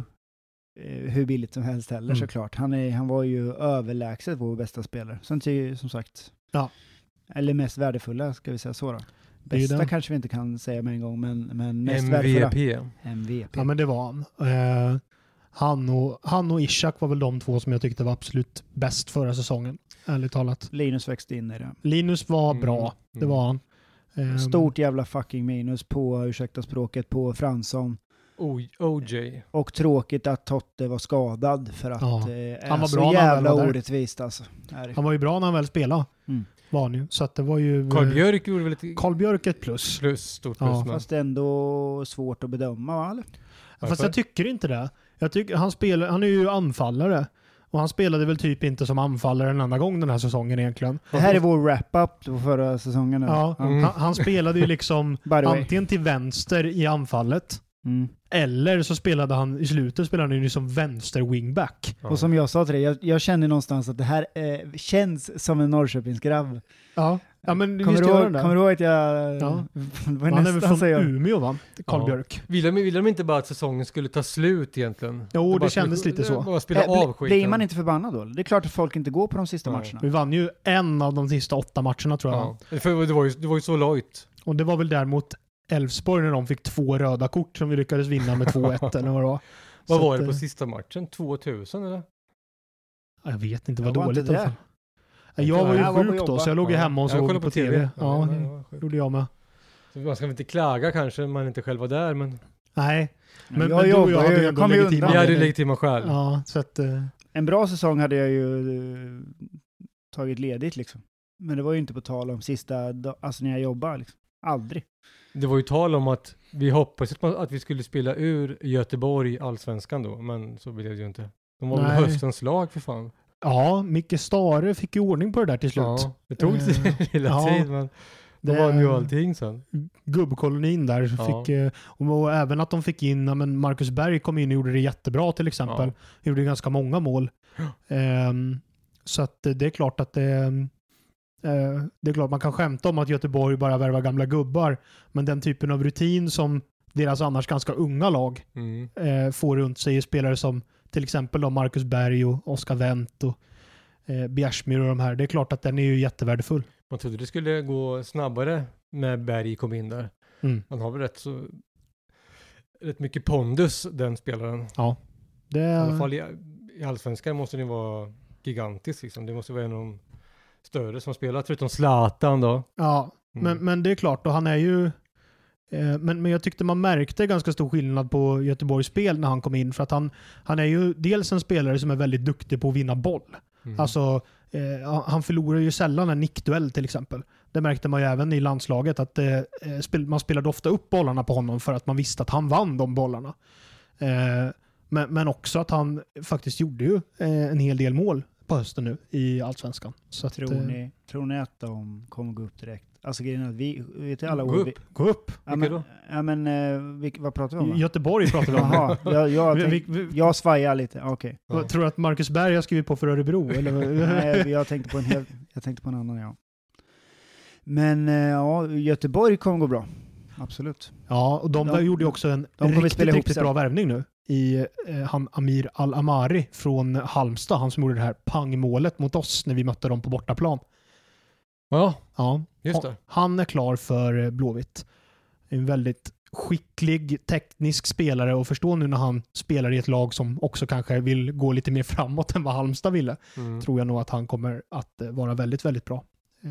Speaker 2: eh, hur billigt som helst heller
Speaker 3: Mm.
Speaker 2: såklart. Han, är, han var ju överlägset vår bästa spelare. Sen tycker jag som sagt,
Speaker 3: Ja.
Speaker 2: eller mest värdefulla, ska vi säga så då.
Speaker 3: Det är ju
Speaker 2: Bästa
Speaker 3: den.
Speaker 2: kanske vi inte kan säga med en gång, men, men mest värdefulla.
Speaker 1: MVP.
Speaker 2: MVP.
Speaker 3: Ja, men det var han. Eh, han, och, han och Ishak var väl de två som jag tyckte var absolut bäst förra säsongen. Ärligt talat.
Speaker 2: Linus växte in i det.
Speaker 3: Linus var
Speaker 1: Mm.
Speaker 3: bra, det var han. Eh,
Speaker 2: Stort jävla fucking minus på, ursäkta språket, på Fransson.
Speaker 1: O- OJ.
Speaker 2: Och tråkigt att Totte var skadad för att
Speaker 3: Ja.
Speaker 2: eh, är
Speaker 3: Han var
Speaker 2: så
Speaker 3: bra när han väl
Speaker 2: jävla
Speaker 3: var där.
Speaker 2: orättvist alltså. Är det.
Speaker 3: Han var ju bra när han väl spelade.
Speaker 2: Mm.
Speaker 3: Var han ju. Så att det var ju... eh,
Speaker 1: Carl Björk gjorde väl ett
Speaker 3: Carl Björk ett plus.
Speaker 1: plus, stort plus.
Speaker 3: Ja.
Speaker 1: men.
Speaker 2: Fast ändå svårt att bedöma va? Eller?
Speaker 3: Fast jag tycker inte det. Jag tycker, han, spelar, han är ju anfallare. Och han spelade väl typ inte som anfallare en enda gång den här säsongen egentligen.
Speaker 2: Det här är vår wrap-up på förra säsongen nu.
Speaker 3: Ja,
Speaker 1: Mm.
Speaker 3: han, han spelade ju liksom
Speaker 2: By the way.
Speaker 3: antingen till vänster i anfallet,
Speaker 2: Mm.
Speaker 3: eller så spelade han i slutet spelade han ju som vänster wingback.
Speaker 1: Ja.
Speaker 2: Och som jag sa till dig, jag, jag känner någonstans att det här eh, känns som en Norrköpingsgrabb.
Speaker 3: Ja, ja men
Speaker 2: Kommer,
Speaker 3: visst
Speaker 2: du
Speaker 3: gör
Speaker 2: ihåg-
Speaker 3: han det?
Speaker 2: kommer du ihåg att jag...
Speaker 3: Ja.
Speaker 2: det var
Speaker 3: han är väl
Speaker 2: nästan så
Speaker 3: från
Speaker 2: jag... Eh,
Speaker 3: Umeå va? Carl
Speaker 1: Ja.
Speaker 3: Björk.
Speaker 1: Ville de, ville de inte bara att säsongen skulle ta slut egentligen?
Speaker 3: Jo, det
Speaker 1: bara
Speaker 3: kändes
Speaker 1: skulle-
Speaker 3: lite så.
Speaker 1: Bara spela
Speaker 2: Eh,
Speaker 1: av
Speaker 2: bli-
Speaker 1: skiten.
Speaker 2: Blir man inte förbannad då? Det är klart att folk inte går på de sista
Speaker 1: Ja.
Speaker 2: matcherna.
Speaker 3: Vi vann ju en av de sista åtta matcherna tror jag.
Speaker 1: Ja. För det var ju, det var ju så lojt.
Speaker 3: Och det var väl där mot Elfsborg när de fick två röda kort som vi lyckades vinna med 2-1 eller vad det var. Så
Speaker 1: Vad var
Speaker 3: att,
Speaker 1: det på
Speaker 3: eh,
Speaker 1: sista matchen? 2000 eller?
Speaker 3: Jag vet inte, vad
Speaker 2: Jag var
Speaker 3: dåligt
Speaker 2: inte
Speaker 3: i alla
Speaker 2: där.
Speaker 3: fall. Jag var ju
Speaker 2: Jag var på
Speaker 3: sjuk då,
Speaker 2: jobba.
Speaker 3: så jag låg ju
Speaker 1: Ja.
Speaker 3: hemma och
Speaker 1: Jag
Speaker 3: såg
Speaker 1: kollade
Speaker 3: på, TV. Ja,
Speaker 1: det
Speaker 3: det
Speaker 1: var sjukt.
Speaker 3: gjorde jag med.
Speaker 1: Så Man ska väl inte klaga kanske, man inte själv var där, men
Speaker 3: Nej, men,
Speaker 2: jag
Speaker 3: men du och jag
Speaker 2: jobbar ju,
Speaker 3: hade ju
Speaker 2: jag
Speaker 3: ändå
Speaker 2: kommer ju
Speaker 3: legitima
Speaker 2: undan.
Speaker 1: vi hade ju
Speaker 3: anledningar.
Speaker 1: legitima skäl.
Speaker 3: Ja, så att... eh,
Speaker 2: En bra säsong hade jag ju eh, tagit ledigt liksom. Men det var ju inte på tal om sista, da- alltså när jag jobbade liksom. Aldrig.
Speaker 1: Det var ju tal om att vi hoppades att man- att vi skulle spela ur Göteborg i allsvenskan då, men så blev det ju inte. De var väl
Speaker 3: Nej.
Speaker 1: höstens lag för fan.
Speaker 3: Ja, Micke Stare fick ju ordning på det där till slut.
Speaker 1: Ja, det tog
Speaker 3: Eh,
Speaker 1: sin lilla
Speaker 3: ja.
Speaker 1: tid, men då
Speaker 3: Det-
Speaker 1: vann ju allting sen.
Speaker 3: Gubbkolonin där. så
Speaker 1: Ja.
Speaker 3: Fick, eh, och, och även att de fick in, ja, men Marcus Berg kom in och gjorde det jättebra till exempel.
Speaker 1: Ja.
Speaker 3: Gjorde ganska många mål. Ehm, så att eh, det är klart att det, eh, det är klart man kan skämta om att Göteborg bara värvar gamla gubbar. Men den typen av rutin som deras annars ganska unga lag
Speaker 1: Mm.
Speaker 3: eh, får runt sig är spelare som till exempel då Marcus Berg och Oskar Wendt och eh, Bjärsmyr och de här. Det är klart att den är ju jättevärdefull.
Speaker 1: Man trodde det skulle gå snabbare när Berg kom in där.
Speaker 3: Mm.
Speaker 1: Han har väl rätt så rätt mycket pondus den spelaren.
Speaker 3: Det,
Speaker 1: I alla fall i, i allsvenskan måste den vara gigantisk liksom. Det måste vara en av de större som spelat förutom Zlatan då.
Speaker 3: ja,
Speaker 1: Mm.
Speaker 3: Men, men det är klart, och han är ju... eh, Men, men jag tyckte man märkte ganska stor skillnad på Göteborgs spel när han kom in. För att han, han är ju dels en spelare som är väldigt duktig på att vinna boll.
Speaker 1: Mm.
Speaker 3: Alltså, eh, han- han förlorar ju sällan en nickduell till exempel. Det märkte man ju även i landslaget att eh, eh, spel, man spelade ofta upp bollarna på honom för att man visste att han vann de bollarna. Eh, men, men också att han faktiskt gjorde ju eh, en hel del mål på hösten nu i Allsvenskan. Så att,
Speaker 2: Tror
Speaker 3: eh,
Speaker 2: ni, tror ni att de kommer gå upp direkt? Alltså grejen är att vi, vet alla
Speaker 1: Gå
Speaker 2: år vi-
Speaker 1: upp.
Speaker 3: Gå upp!
Speaker 2: Ja
Speaker 1: Vilka
Speaker 2: men, ja, men eh, vilk- vad pratar vi om? va?
Speaker 3: Göteborg pratar vi om.
Speaker 2: Jaha, jag, jag,
Speaker 3: Vi-
Speaker 2: tänk,
Speaker 3: vi- vi-
Speaker 2: jag svajar lite, okej.
Speaker 1: Ja.
Speaker 3: Vad, Tror du att Marcus Berg har skrivit på för Örebro? Eller? vad-
Speaker 2: Nej, jag tänkte på en hel, jag tänkte på en annan ja. Men eh, ja, Göteborg kommer gå bra. Absolut.
Speaker 3: ja, och de,
Speaker 2: De-
Speaker 3: gjorde ju också en
Speaker 2: kommer
Speaker 3: riktigt,
Speaker 2: spela ihop
Speaker 3: riktigt
Speaker 2: sen.
Speaker 3: bra värvning nu i eh, han, Amir Al-Amari från Halmstad. Han som gjorde det här pangmålet mot oss när vi mötte dem på bortaplan.
Speaker 1: Ja,
Speaker 3: Ja,
Speaker 1: just
Speaker 3: han,
Speaker 1: det.
Speaker 3: han är klar för eh, Blåvitt. En väldigt skicklig teknisk spelare och förstå nu när han spelar i ett lag som också kanske vill gå lite mer framåt än vad Halmstad ville.
Speaker 1: Mm.
Speaker 3: tror jag nog att han kommer att eh, vara väldigt, väldigt bra. Eh,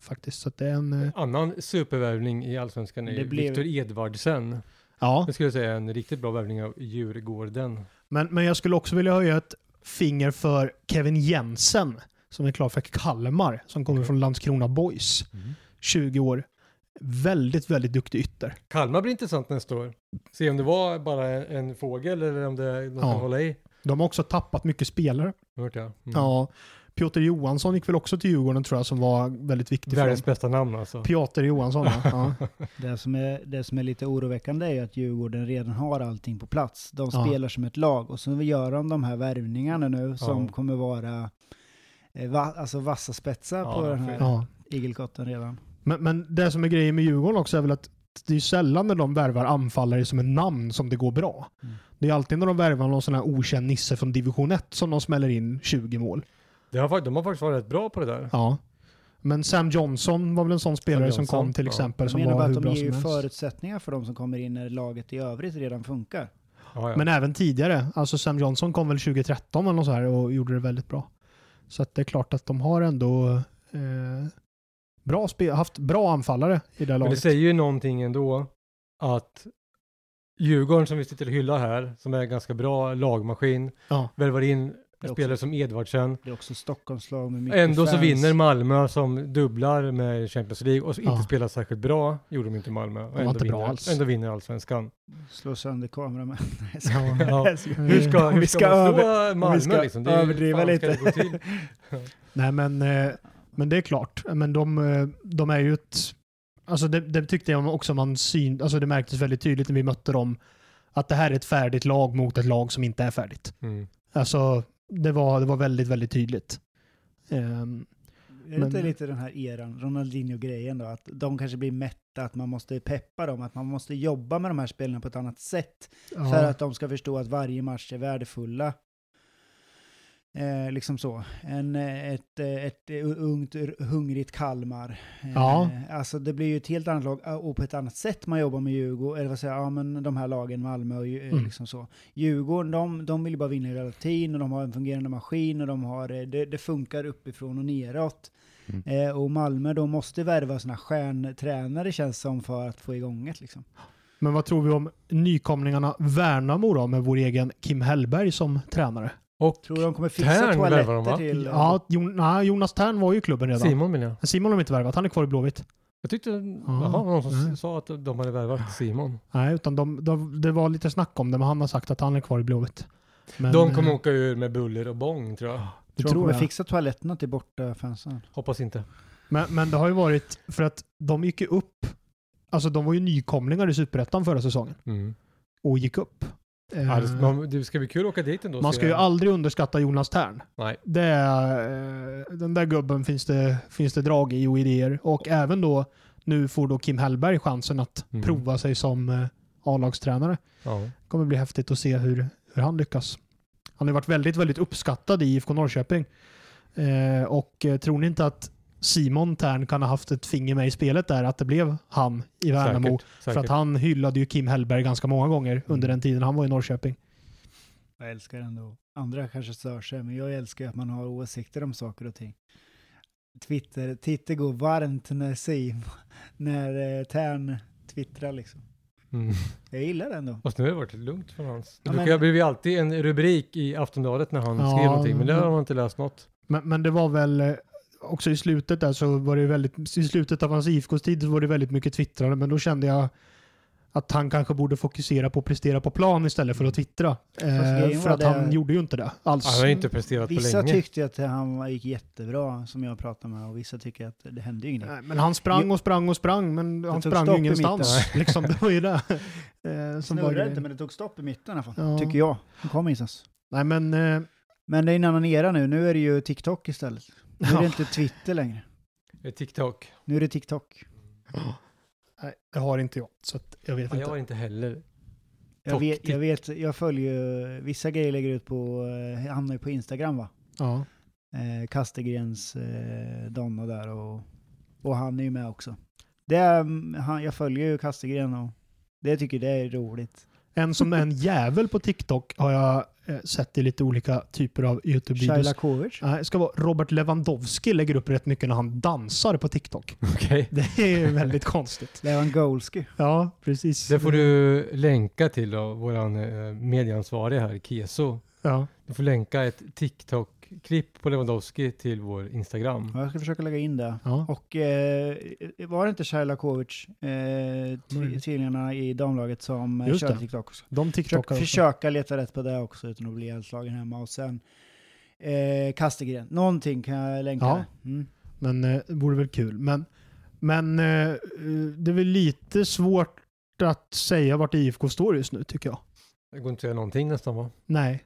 Speaker 3: faktiskt, så att det är en... Eh,
Speaker 1: Annan supervärvning i Allsvenskan är
Speaker 2: Det
Speaker 1: ju
Speaker 2: blev-
Speaker 1: Viktor Edvardsen.
Speaker 3: ja,
Speaker 1: Det skulle jag säga är en riktigt bra värvning av Djurgården.
Speaker 3: men, men jag skulle också vilja höja ett finger för Kevin Jensen som är klar för Kalmar, som
Speaker 1: Mm.
Speaker 3: kommer från Landskrona Boys. 20 år. Väldigt, väldigt duktig ytter.
Speaker 1: Kalmar blir intressant nästa år. Se om det var bara en fågel eller om det är något
Speaker 3: Ja.
Speaker 1: att hålla i.
Speaker 3: De har också tappat mycket spelare.
Speaker 1: Hört jag. Mm.
Speaker 3: Ja, Piotr Johansson gick väl också till Djurgården tror jag, som var väldigt viktig för dem.
Speaker 1: Världens bästa namn alltså.
Speaker 3: Piotr Johansson, ja. ja.
Speaker 2: Det som, är, det som är lite oroväckande är ju att Djurgården redan har allting på plats. De
Speaker 3: Ja.
Speaker 2: spelar som ett lag och så gör de de här värvningarna nu som
Speaker 1: Ja.
Speaker 2: kommer vara eh, va, alltså vassa spetsar
Speaker 1: Ja,
Speaker 2: på den
Speaker 1: för-
Speaker 2: här
Speaker 3: ja.
Speaker 2: igelkotten redan.
Speaker 3: Men, men det som är grejen med Djurgården också är väl att det är ju sällan när de värvar anfallare som är namn som det går bra.
Speaker 2: Mm.
Speaker 3: Det är alltid när de värvar någon sån här okänd nisse från division 1 som de smäller in 20 mål.
Speaker 1: Det har, fakt- de har faktiskt varit rätt bra på det där.
Speaker 3: Ja. Men Sam Johnson var väl en sån spelare som
Speaker 1: Johnson,
Speaker 3: kom till
Speaker 1: ja.
Speaker 3: exempel
Speaker 2: Jag
Speaker 3: som
Speaker 2: menar bara
Speaker 3: var hur
Speaker 2: att de
Speaker 3: bra
Speaker 2: ger
Speaker 3: som
Speaker 2: ju
Speaker 3: helst.
Speaker 2: förutsättningar för de som kommer in när laget i övrigt redan funkar.
Speaker 1: Ja, ja.
Speaker 3: Men även tidigare. Alltså Sam Johnson kom väl 2013 eller något så här och gjorde det väldigt bra. Så att det är klart att de har ändå eh, bra spe- haft bra anfallare i det här
Speaker 1: Men det
Speaker 3: laget.
Speaker 1: säger ju någonting ändå att Djurgården som vi sitter och hyllar här, som är en ganska bra lagmaskin,
Speaker 3: Ja.
Speaker 1: värvar in
Speaker 2: Det är
Speaker 1: spelare som Edvardsen.
Speaker 2: Det är också Stockholmslag med mycket
Speaker 1: Ändå så
Speaker 2: fans.
Speaker 1: vinner Malmö som dubblar med Champions League och så inte
Speaker 3: Ja.
Speaker 1: spelar särskilt bra, gjorde de inte i Malmö. Och
Speaker 3: var inte bra
Speaker 1: vinner,
Speaker 3: alls. Mm.
Speaker 1: ändå vinner allsvenskan.
Speaker 2: Slår sönder kameran med.
Speaker 1: Ja. Mm. Hur ska,
Speaker 2: Om vi
Speaker 1: hur ska,
Speaker 2: ska
Speaker 1: man slå
Speaker 2: om
Speaker 1: Malmö
Speaker 2: vi ska
Speaker 1: liksom? Det är ju-
Speaker 2: överdriva
Speaker 1: fan,
Speaker 2: lite.
Speaker 1: Ska det gå till?
Speaker 3: Nej, men, eh, men det är klart. Men de, eh, de är ju ett... Alltså det, det tyckte jag också man syn, alltså det märktes väldigt tydligt när vi mötte dem. Att det här är ett färdigt lag mot ett lag som inte är färdigt.
Speaker 1: Mm.
Speaker 3: Alltså det var, det var väldigt, väldigt tydligt. Ehm,
Speaker 2: Är det inte
Speaker 3: Men-
Speaker 2: lite den här eran, Ronaldinho-grejen då, att de kanske blir mätta, att man måste peppa dem, att man måste jobba med de här spelarna på ett annat sätt
Speaker 3: ja.
Speaker 2: för att de ska förstå att varje match är värdefulla. Eh, liksom så. En, eh, ett, eh, ett eh, ungt, r- hungrigt Kalmar. Eh,
Speaker 3: Ja.
Speaker 2: Alltså det blir ju ett helt annat lag eh, och på ett annat sätt man jobbar med Djurgården, eller vad säger jag, ja men de här lagen, Malmö och Dju- eh,
Speaker 3: Mm.
Speaker 2: liksom så. Djurgården, de, de vill ju bara vinna i relatin och de har en fungerande maskin och de har, eh, det, det funkar uppifrån och neråt.
Speaker 4: Mm.
Speaker 2: Eh, och Malmö då måste värva sådana stjärntränare känns som för att få igång det liksom.
Speaker 3: Men vad tror vi om nykomlingarna Värnamo då med vår egen Kim Hellberg som tränare?
Speaker 1: Och
Speaker 2: Tror de kommer fixa
Speaker 1: Tern värvar de,
Speaker 2: toaletter
Speaker 1: va?
Speaker 2: till... eh,
Speaker 3: Ja, Jon, nej, Jonas Tern var ju i klubben redan. Simon,
Speaker 1: Simon menar jag.
Speaker 3: Simon har de inte värvat, han är kvar i Blåvitt.
Speaker 1: Jag tyckte, jaha, var det någon som
Speaker 3: nej.
Speaker 1: sa att de hade värvat Simon.
Speaker 3: Nej, utan de, de, det var lite snack om det, men han har sagt att han är kvar i Blåvitt. Men,
Speaker 1: De kommer
Speaker 3: eh,
Speaker 1: åka ur med buller och bång tror jag.
Speaker 3: det
Speaker 2: Tror de
Speaker 3: tror
Speaker 2: kommer
Speaker 3: jag.
Speaker 2: fixa toaletterna till borta fansen.
Speaker 1: Hoppas inte.
Speaker 3: Men, men det har ju varit, för att de gick ju upp, alltså de var ju nykomlingar i Superettan förra säsongen
Speaker 1: Mm.
Speaker 3: och gick upp. Eh,
Speaker 1: Ja, det- man, det ska bli kul att åka dit ändå. och
Speaker 3: man
Speaker 1: se.
Speaker 3: ska ju aldrig underskatta Jonas Tern.
Speaker 1: Nej.
Speaker 3: Det är, eh, den där gubben finns det, finns det drag i och idéer. Och även då, nu får då Kim Hellberg chansen att
Speaker 1: Mm.
Speaker 3: prova sig som eh, A-lagstränare.
Speaker 1: Ja.
Speaker 3: Det kommer bli häftigt att se hur, hur han lyckas. Han har ju varit väldigt, väldigt uppskattad i IFK Norrköping. Eh, och eh, tror ni inte att Simon Tern kan ha haft ett finger med i spelet där, att det blev han i Värnamo?
Speaker 1: Säkert,
Speaker 3: För
Speaker 1: säkert.
Speaker 3: att han hyllade ju Kim Hellberg ganska många gånger under
Speaker 1: Mm.
Speaker 3: den tiden han var i Norrköping.
Speaker 2: Jag älskar ändå. Andra kanske stör sig, men jag älskar att man har åsikter om saker och ting. Twitter, Twitter går varmt när Sim, när eh, Tern twittrar liksom.
Speaker 1: Mm.
Speaker 2: Jag gillar det ändå.
Speaker 1: Fast nu har det varit lugnt från hans. Det
Speaker 2: Ja,
Speaker 1: brukar
Speaker 2: men-
Speaker 1: det blir ju alltid en rubrik i Aftonbladet när han
Speaker 3: Ja,
Speaker 1: skrev någonting, men där har
Speaker 3: men-
Speaker 1: man inte läst något.
Speaker 3: Men, men det var väl eh, också i slutet där så var det väldigt, i slutet av hans IFK-tid så var det väldigt mycket twittrande men då kände jag att han kanske borde fokusera på att prestera på plan istället för att twittra. Eh,
Speaker 2: grejen
Speaker 3: för
Speaker 2: var
Speaker 3: att han
Speaker 2: Mm. det-
Speaker 3: gjorde ju inte det alls.
Speaker 1: Han har ju inte presterat på
Speaker 2: Vissa
Speaker 1: länge.
Speaker 2: tyckte att han var- gick jättebra, som jag pratade med, och vissa tycker att det hände ju ingenting.
Speaker 3: Nej, men han sprang och sprang och sprang, men han
Speaker 2: tog
Speaker 3: sprang
Speaker 2: stopp
Speaker 3: ju
Speaker 2: i
Speaker 3: ingenstans. Liksom, det var ju det. Eh, som var
Speaker 2: Snurrade inte,
Speaker 3: grejen.
Speaker 2: men det tog stopp i mitten i alla fall,
Speaker 3: Ja.
Speaker 2: tycker jag. Han kom ingenstans.
Speaker 3: Nej, men eh,
Speaker 2: Men det är en annan era nu, nu är det ju TikTok istället. Nu är det inte Twitter längre,
Speaker 1: Eh, TikTok.
Speaker 2: nu är det TikTok.
Speaker 3: nej, det har inte jag, så att jag vet
Speaker 1: Ja, jag
Speaker 3: inte.
Speaker 1: har inte heller.
Speaker 2: Jag
Speaker 1: Tok-
Speaker 2: vet, jag
Speaker 1: tik-
Speaker 2: vet, jag följer ju, vissa grejer lägger ut på, eh, hamnar ju på Instagram va?
Speaker 3: Ja.
Speaker 2: Eh, Kastergrens eh, Donna där och, och han är ju med också. Det är, mm, han, jag följer ju Kastergren och det tycker det är roligt.
Speaker 3: En som är en jävel på TikTok har jag eh, sett i lite olika typer av YouTube-videos.
Speaker 2: Sjajlakovic.
Speaker 3: Nej, det ska vara Robert Lewandowski lägger upp rätt mycket när han dansar på TikTok.
Speaker 1: Okej.
Speaker 3: Det är ju väldigt konstigt.
Speaker 2: Lewandowski.
Speaker 3: Ja, precis.
Speaker 1: Det får du länka till då, våran eh, medieansvarige här, Keso.
Speaker 3: Ja.
Speaker 1: Du får länka ett TikTok-klipp på Lewandowski till vår Instagram.
Speaker 2: Ja, jag ska försöka lägga in det.
Speaker 3: Ja.
Speaker 2: Och eh, var det inte Sjajlakovic, eh, ty-
Speaker 3: Möjligt.
Speaker 2: tydligen i damlaget, som eh,
Speaker 3: Just
Speaker 2: körde
Speaker 3: det.
Speaker 2: TikTok också?
Speaker 3: De
Speaker 2: Försök,
Speaker 3: TikTokar också.
Speaker 2: försöka leta rätt på det också utan att bli ihjälslagen hemma. Och sen eh, Kastegren. Någonting kan jag länka.
Speaker 3: Ja.
Speaker 2: Mm.
Speaker 3: Men eh, det vore väl kul. Men, men eh, det är väl lite svårt att säga vart IFK står just nu tycker jag.
Speaker 1: Det går inte att säga någonting nästan va?
Speaker 3: Nej.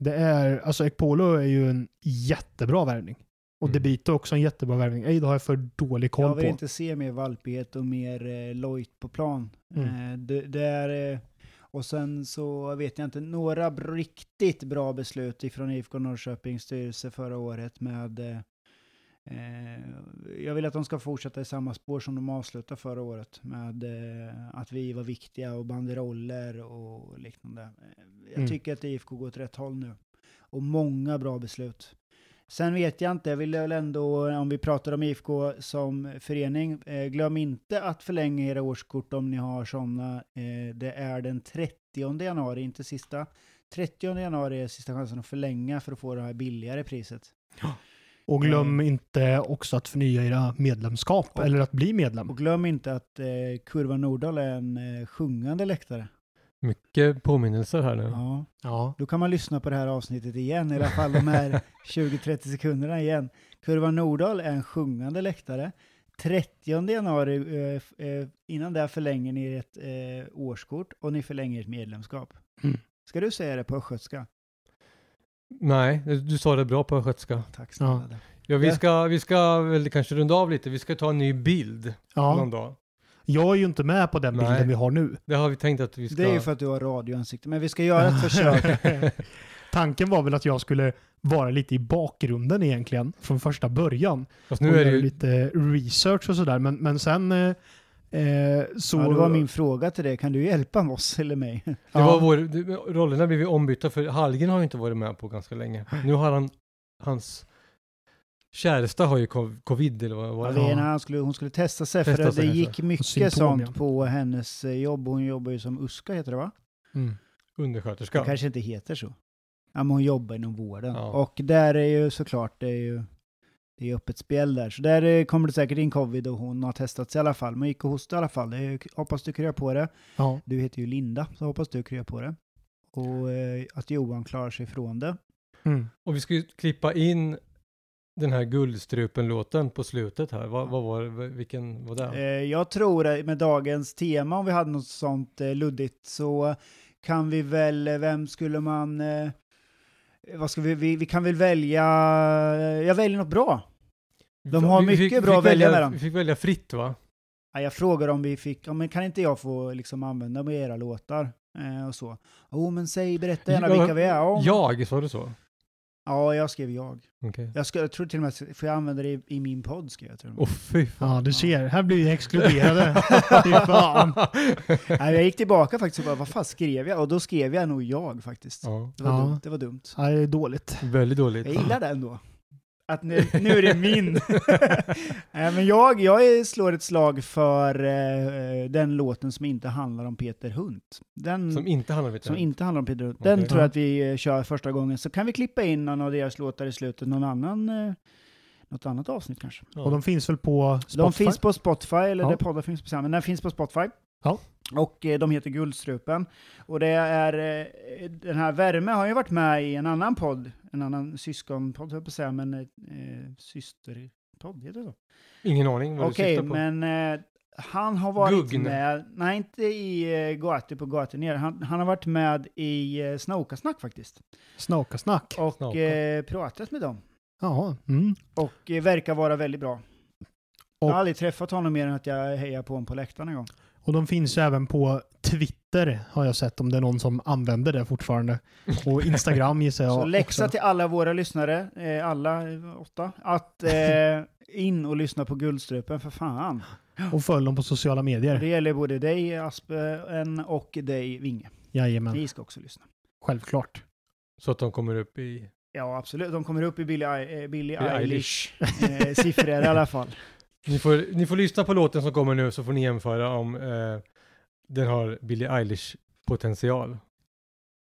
Speaker 3: Det är, alltså Ekpolo är ju en jättebra värvning. Och
Speaker 1: Mm.
Speaker 3: Debito är också en jättebra värvning. Eid har jag för dålig koll
Speaker 2: Jag
Speaker 3: på.
Speaker 2: vill inte se mer valpighet och mer eh, lojt på plan.
Speaker 3: Mm.
Speaker 2: Eh, det, det är, eh, och sen så vet jag inte, några br- riktigt bra beslut ifrån IFK Norrköpings styrelse förra året med eh, Eh, jag vill att de ska fortsätta i samma spår som de avslutade förra året med eh, att vi var viktiga och banderoller och liknande. Eh, Jag
Speaker 3: Mm.
Speaker 2: tycker att IFK går åt rätt håll nu och många bra beslut. Sen vet jag inte, jag vill väl ändå, om vi pratar om IFK som förening, eh, glöm inte att förlänga era årskort om ni har sådana. Eh, det är den 30 januari, inte sista. 30 januari är sista chansen att förlänga för att få det här billigare priset.
Speaker 3: Och glöm inte också att förnya era medlemskap
Speaker 2: Och-
Speaker 3: eller att bli medlem.
Speaker 2: Och glöm inte att eh, Kurva Nordahl är en eh, sjungande läktare.
Speaker 1: Mycket påminnelser här nu.
Speaker 2: Ja.
Speaker 3: Ja.
Speaker 2: Då kan man lyssna på det här avsnittet igen, i alla fall de här 20-30 sekunderna igen. Kurva Nordahl är en sjungande läktare. 30 januari, eh, f- eh, innan det här förlänger ni ert eh, årskort och ni förlänger ert medlemskap.
Speaker 3: Mm.
Speaker 2: Ska du säga det på östgötska?
Speaker 1: Nej, du sa det bra på östgötska.
Speaker 2: Tack
Speaker 3: Ja.
Speaker 2: snälla.
Speaker 1: Ja, vi
Speaker 2: Ja.
Speaker 1: ska, vi ska väl kanske runda av lite. Vi ska ta en ny bild någon
Speaker 3: ja.
Speaker 1: dag.
Speaker 3: Jag är ju inte med på den
Speaker 1: Nej.
Speaker 3: bilden vi har nu.
Speaker 1: Det har vi tänkt att vi ska...
Speaker 2: Det är ju för att du har radioansikte, men vi ska göra ett försök.
Speaker 3: Tanken var väl att jag skulle vara lite i bakgrunden egentligen från första början.
Speaker 1: Fast
Speaker 3: och
Speaker 1: nu är det
Speaker 3: göra
Speaker 1: ju...
Speaker 3: lite research och sådär. Men, men sen eh, eh, så...
Speaker 2: Ja, det var min fråga till dig, kan du hjälpa oss eller mig?
Speaker 1: Det
Speaker 3: Ja.
Speaker 1: var vår, det- rollerna blev ju ombytta för Hallgren har ju inte varit med på ganska länge. Nu har han... Hans käresta har ju cov- covid eller vad var det?
Speaker 2: Lena, han skulle, hon skulle testa sig,
Speaker 1: Testa
Speaker 2: för
Speaker 1: sig,
Speaker 2: det
Speaker 1: kanske.
Speaker 2: gick mycket
Speaker 3: Symptom,
Speaker 2: sånt
Speaker 3: ja.
Speaker 2: på hennes eh, jobb. Hon jobbar ju som USKA, heter det va?
Speaker 1: Mm.
Speaker 2: Det
Speaker 1: Undersköterska.
Speaker 2: kanske inte heter så. Ja, men hon jobbar inom vården.
Speaker 1: Ja.
Speaker 2: Och där är ju såklart, det är ju det är öppet spel där. Så där eh, kommer det säkert in covid och hon har testat sig i alla fall. Men gick och hostade i alla fall. Det är, ju- hoppas du kryar på det.
Speaker 3: Ja.
Speaker 2: Du heter ju Linda, så hoppas du kryar på det. Och eh, att Johan klarar sig från det.
Speaker 3: Mm.
Speaker 1: Och vi ska ju klippa in den här Guldstrupen-låten på slutet här. Vad, vad var det? Vilken var det?
Speaker 2: Eh, Jag tror eh, med dagens tema, om vi hade något sånt eh, luddigt, så kan vi väl, eh, vem skulle man, eh, vad ska vi, vi, vi kan väl välja, eh, jag väljer något bra. de har
Speaker 1: Vi- vi
Speaker 2: mycket bra att välja mellan.
Speaker 1: Vi fick välja fritt va?
Speaker 2: Ja, Jag frågar om vi fick, ja, men kan inte jag få liksom använda mig av era låtar? Eh, och så. Jo, men säg, berätta gärna
Speaker 1: Ja,
Speaker 2: vilka vi är. Ja,
Speaker 1: Jag, sa du så?
Speaker 2: ja jag skrev jag.
Speaker 1: Okej.
Speaker 2: Jag, ska, jag tror till och med, får jag använda det i, i min podd? Skrev jag, till och med.
Speaker 1: Åh fy fan.
Speaker 3: ja, du ser. Här blir vi exkluderade. Fy fan.
Speaker 2: Nej, jag gick tillbaka faktiskt och bara, vad fan skrev jag? Och då skrev jag nog jag faktiskt.
Speaker 1: Ja,
Speaker 2: Det, var
Speaker 3: Ja.
Speaker 2: dumt, det var dumt.
Speaker 3: Ja, det är dåligt.
Speaker 1: väldigt dåligt.
Speaker 2: Jag gillar det ändå. Att nu, nu är det min. Nej, men jag, jag slår ett slag för eh, den låten som inte handlar om Peter Hunt. Den
Speaker 1: Som
Speaker 2: som,
Speaker 1: inte handlar om lite.
Speaker 2: inte handlar om Peter Hunt. Den
Speaker 1: Okej.
Speaker 2: tror jag att vi eh, kör första gången. Så kan vi klippa in någon av deras låtar i slutet, någon annan, eh, något annat avsnitt kanske.
Speaker 1: Ja.
Speaker 3: Och de finns väl på Spotify?
Speaker 2: De finns på Spotify, eller
Speaker 3: Ja.
Speaker 2: där poddar finns på men den finns på Spotify.
Speaker 3: Ja.
Speaker 2: Och eh, de heter Guldstrupen. Och det är, eh, den här Värme har ju varit med i en annan podd, en annan syskonpodd höll jag på att säga, men eh, eh, systerpodd, heter det så?
Speaker 1: Ingen aning vad du
Speaker 2: Okej,
Speaker 1: syftar på.
Speaker 2: men eh, han har varit
Speaker 1: Guggen.
Speaker 2: med, nej inte i eh, Goati på Goati ner, han, han har varit med i eh, Snokasnack faktiskt.
Speaker 3: Snaka snack.
Speaker 2: Och
Speaker 1: Snaka.
Speaker 2: eh, pratat med dem.
Speaker 3: Ja. Mm.
Speaker 2: Och eh, verkar vara väldigt bra. Jag
Speaker 3: Och-
Speaker 2: har aldrig träffat honom mer än att jag hejar på honom på läktaren en gång.
Speaker 3: Och de finns ju även på Twitter har jag sett om det är någon som använder det fortfarande. Och Instagram gissar jag
Speaker 2: Så läxa
Speaker 3: också.
Speaker 2: till alla våra lyssnare, eh, alla eh, åtta, att eh, in och lyssna på Guldstrupen för fan.
Speaker 3: Och följ dem på sociala medier.
Speaker 2: Det gäller både dig Aspen och dig Vinge.
Speaker 3: Jajamän,
Speaker 2: Ni ska också lyssna.
Speaker 3: självklart.
Speaker 1: Så att de kommer upp i...
Speaker 2: Ja, absolut. De kommer upp i Billie, I- eh, Billie
Speaker 1: Billie
Speaker 2: Eilish eh, siffror i alla fall.
Speaker 1: Ni får, ni får lyssna på låten som kommer nu så får ni jämföra om eh, den har Billie Eilish-potential.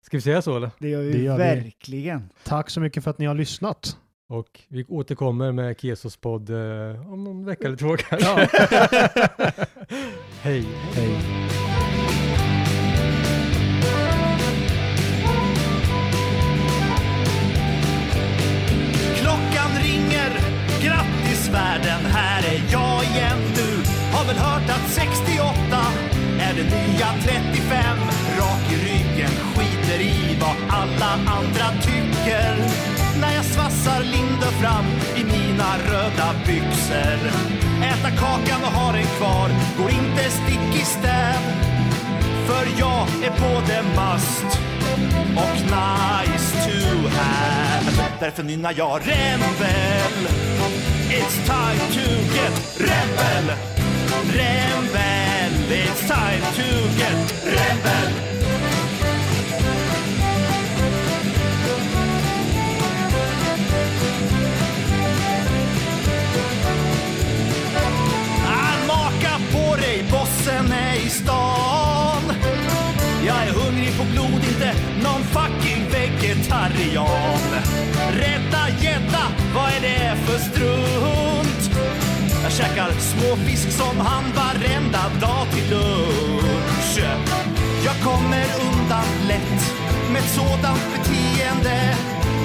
Speaker 1: Ska vi säga så eller?
Speaker 2: Det gör vi
Speaker 3: Det gör vi.
Speaker 2: verkligen.
Speaker 3: Tack så mycket för att ni har lyssnat.
Speaker 1: Och vi återkommer med Kesos podd eh, om någon vecka eller två kanske.
Speaker 3: Ja.
Speaker 1: Hej!
Speaker 3: Hej.
Speaker 4: Klockan ringer, grattis världen, här är jag igen nu. Har väl hört att 68 är det nya 35. Rak i ryggen, skiter i vad alla andra tycker. När jag svassar Linde fram i mina röda byxor. Äta kakan och ha den kvar, går inte stick i stäv. För jag är både must och nice to have. Därför nynnar jag Rebel. It's time to get rebel. Rebel. It's time to get rebel. Ah, maka på dig, bossen är i stan. Jag är hungrig på blod, inte någon fucking vegetarian. Rädda gädda, vad är det för strunt? Jag käkar småfisk som han varenda dag till lunch. Jag kommer undan lätt med ett sådant beteende.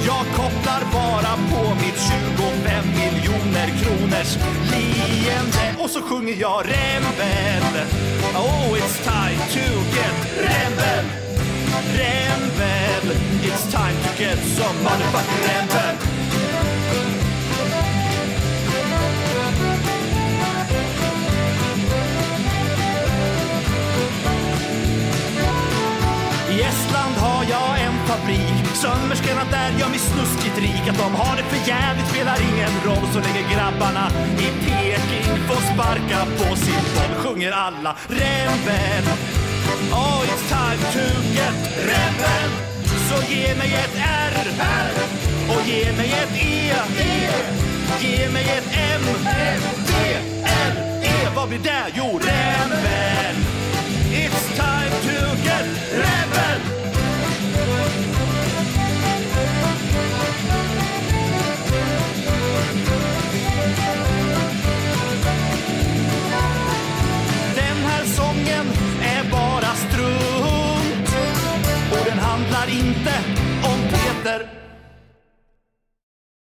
Speaker 4: Jag kopplar bara på mitt 25 miljoner kronors leende. Och så sjunger jag Rebel. Oh, it's time to get Rebel. Rebel. It's time to get some motherfucking Rebel. I Estland har jag en fabrik Sömmerskorna där gör mig snuskigt rik Att de har det för jävligt spelar ingen roll Så länge grabbarna i Peking får sparka på sin boll Sjunger alla rebel Oh it's time to get rebel Så ge mig ett R Och ge mig ett E Ge mig ett M D L E Vad blir det? Jo rebel It's time to get rebel! Den här sången är bara strunt och den handlar inte om Peter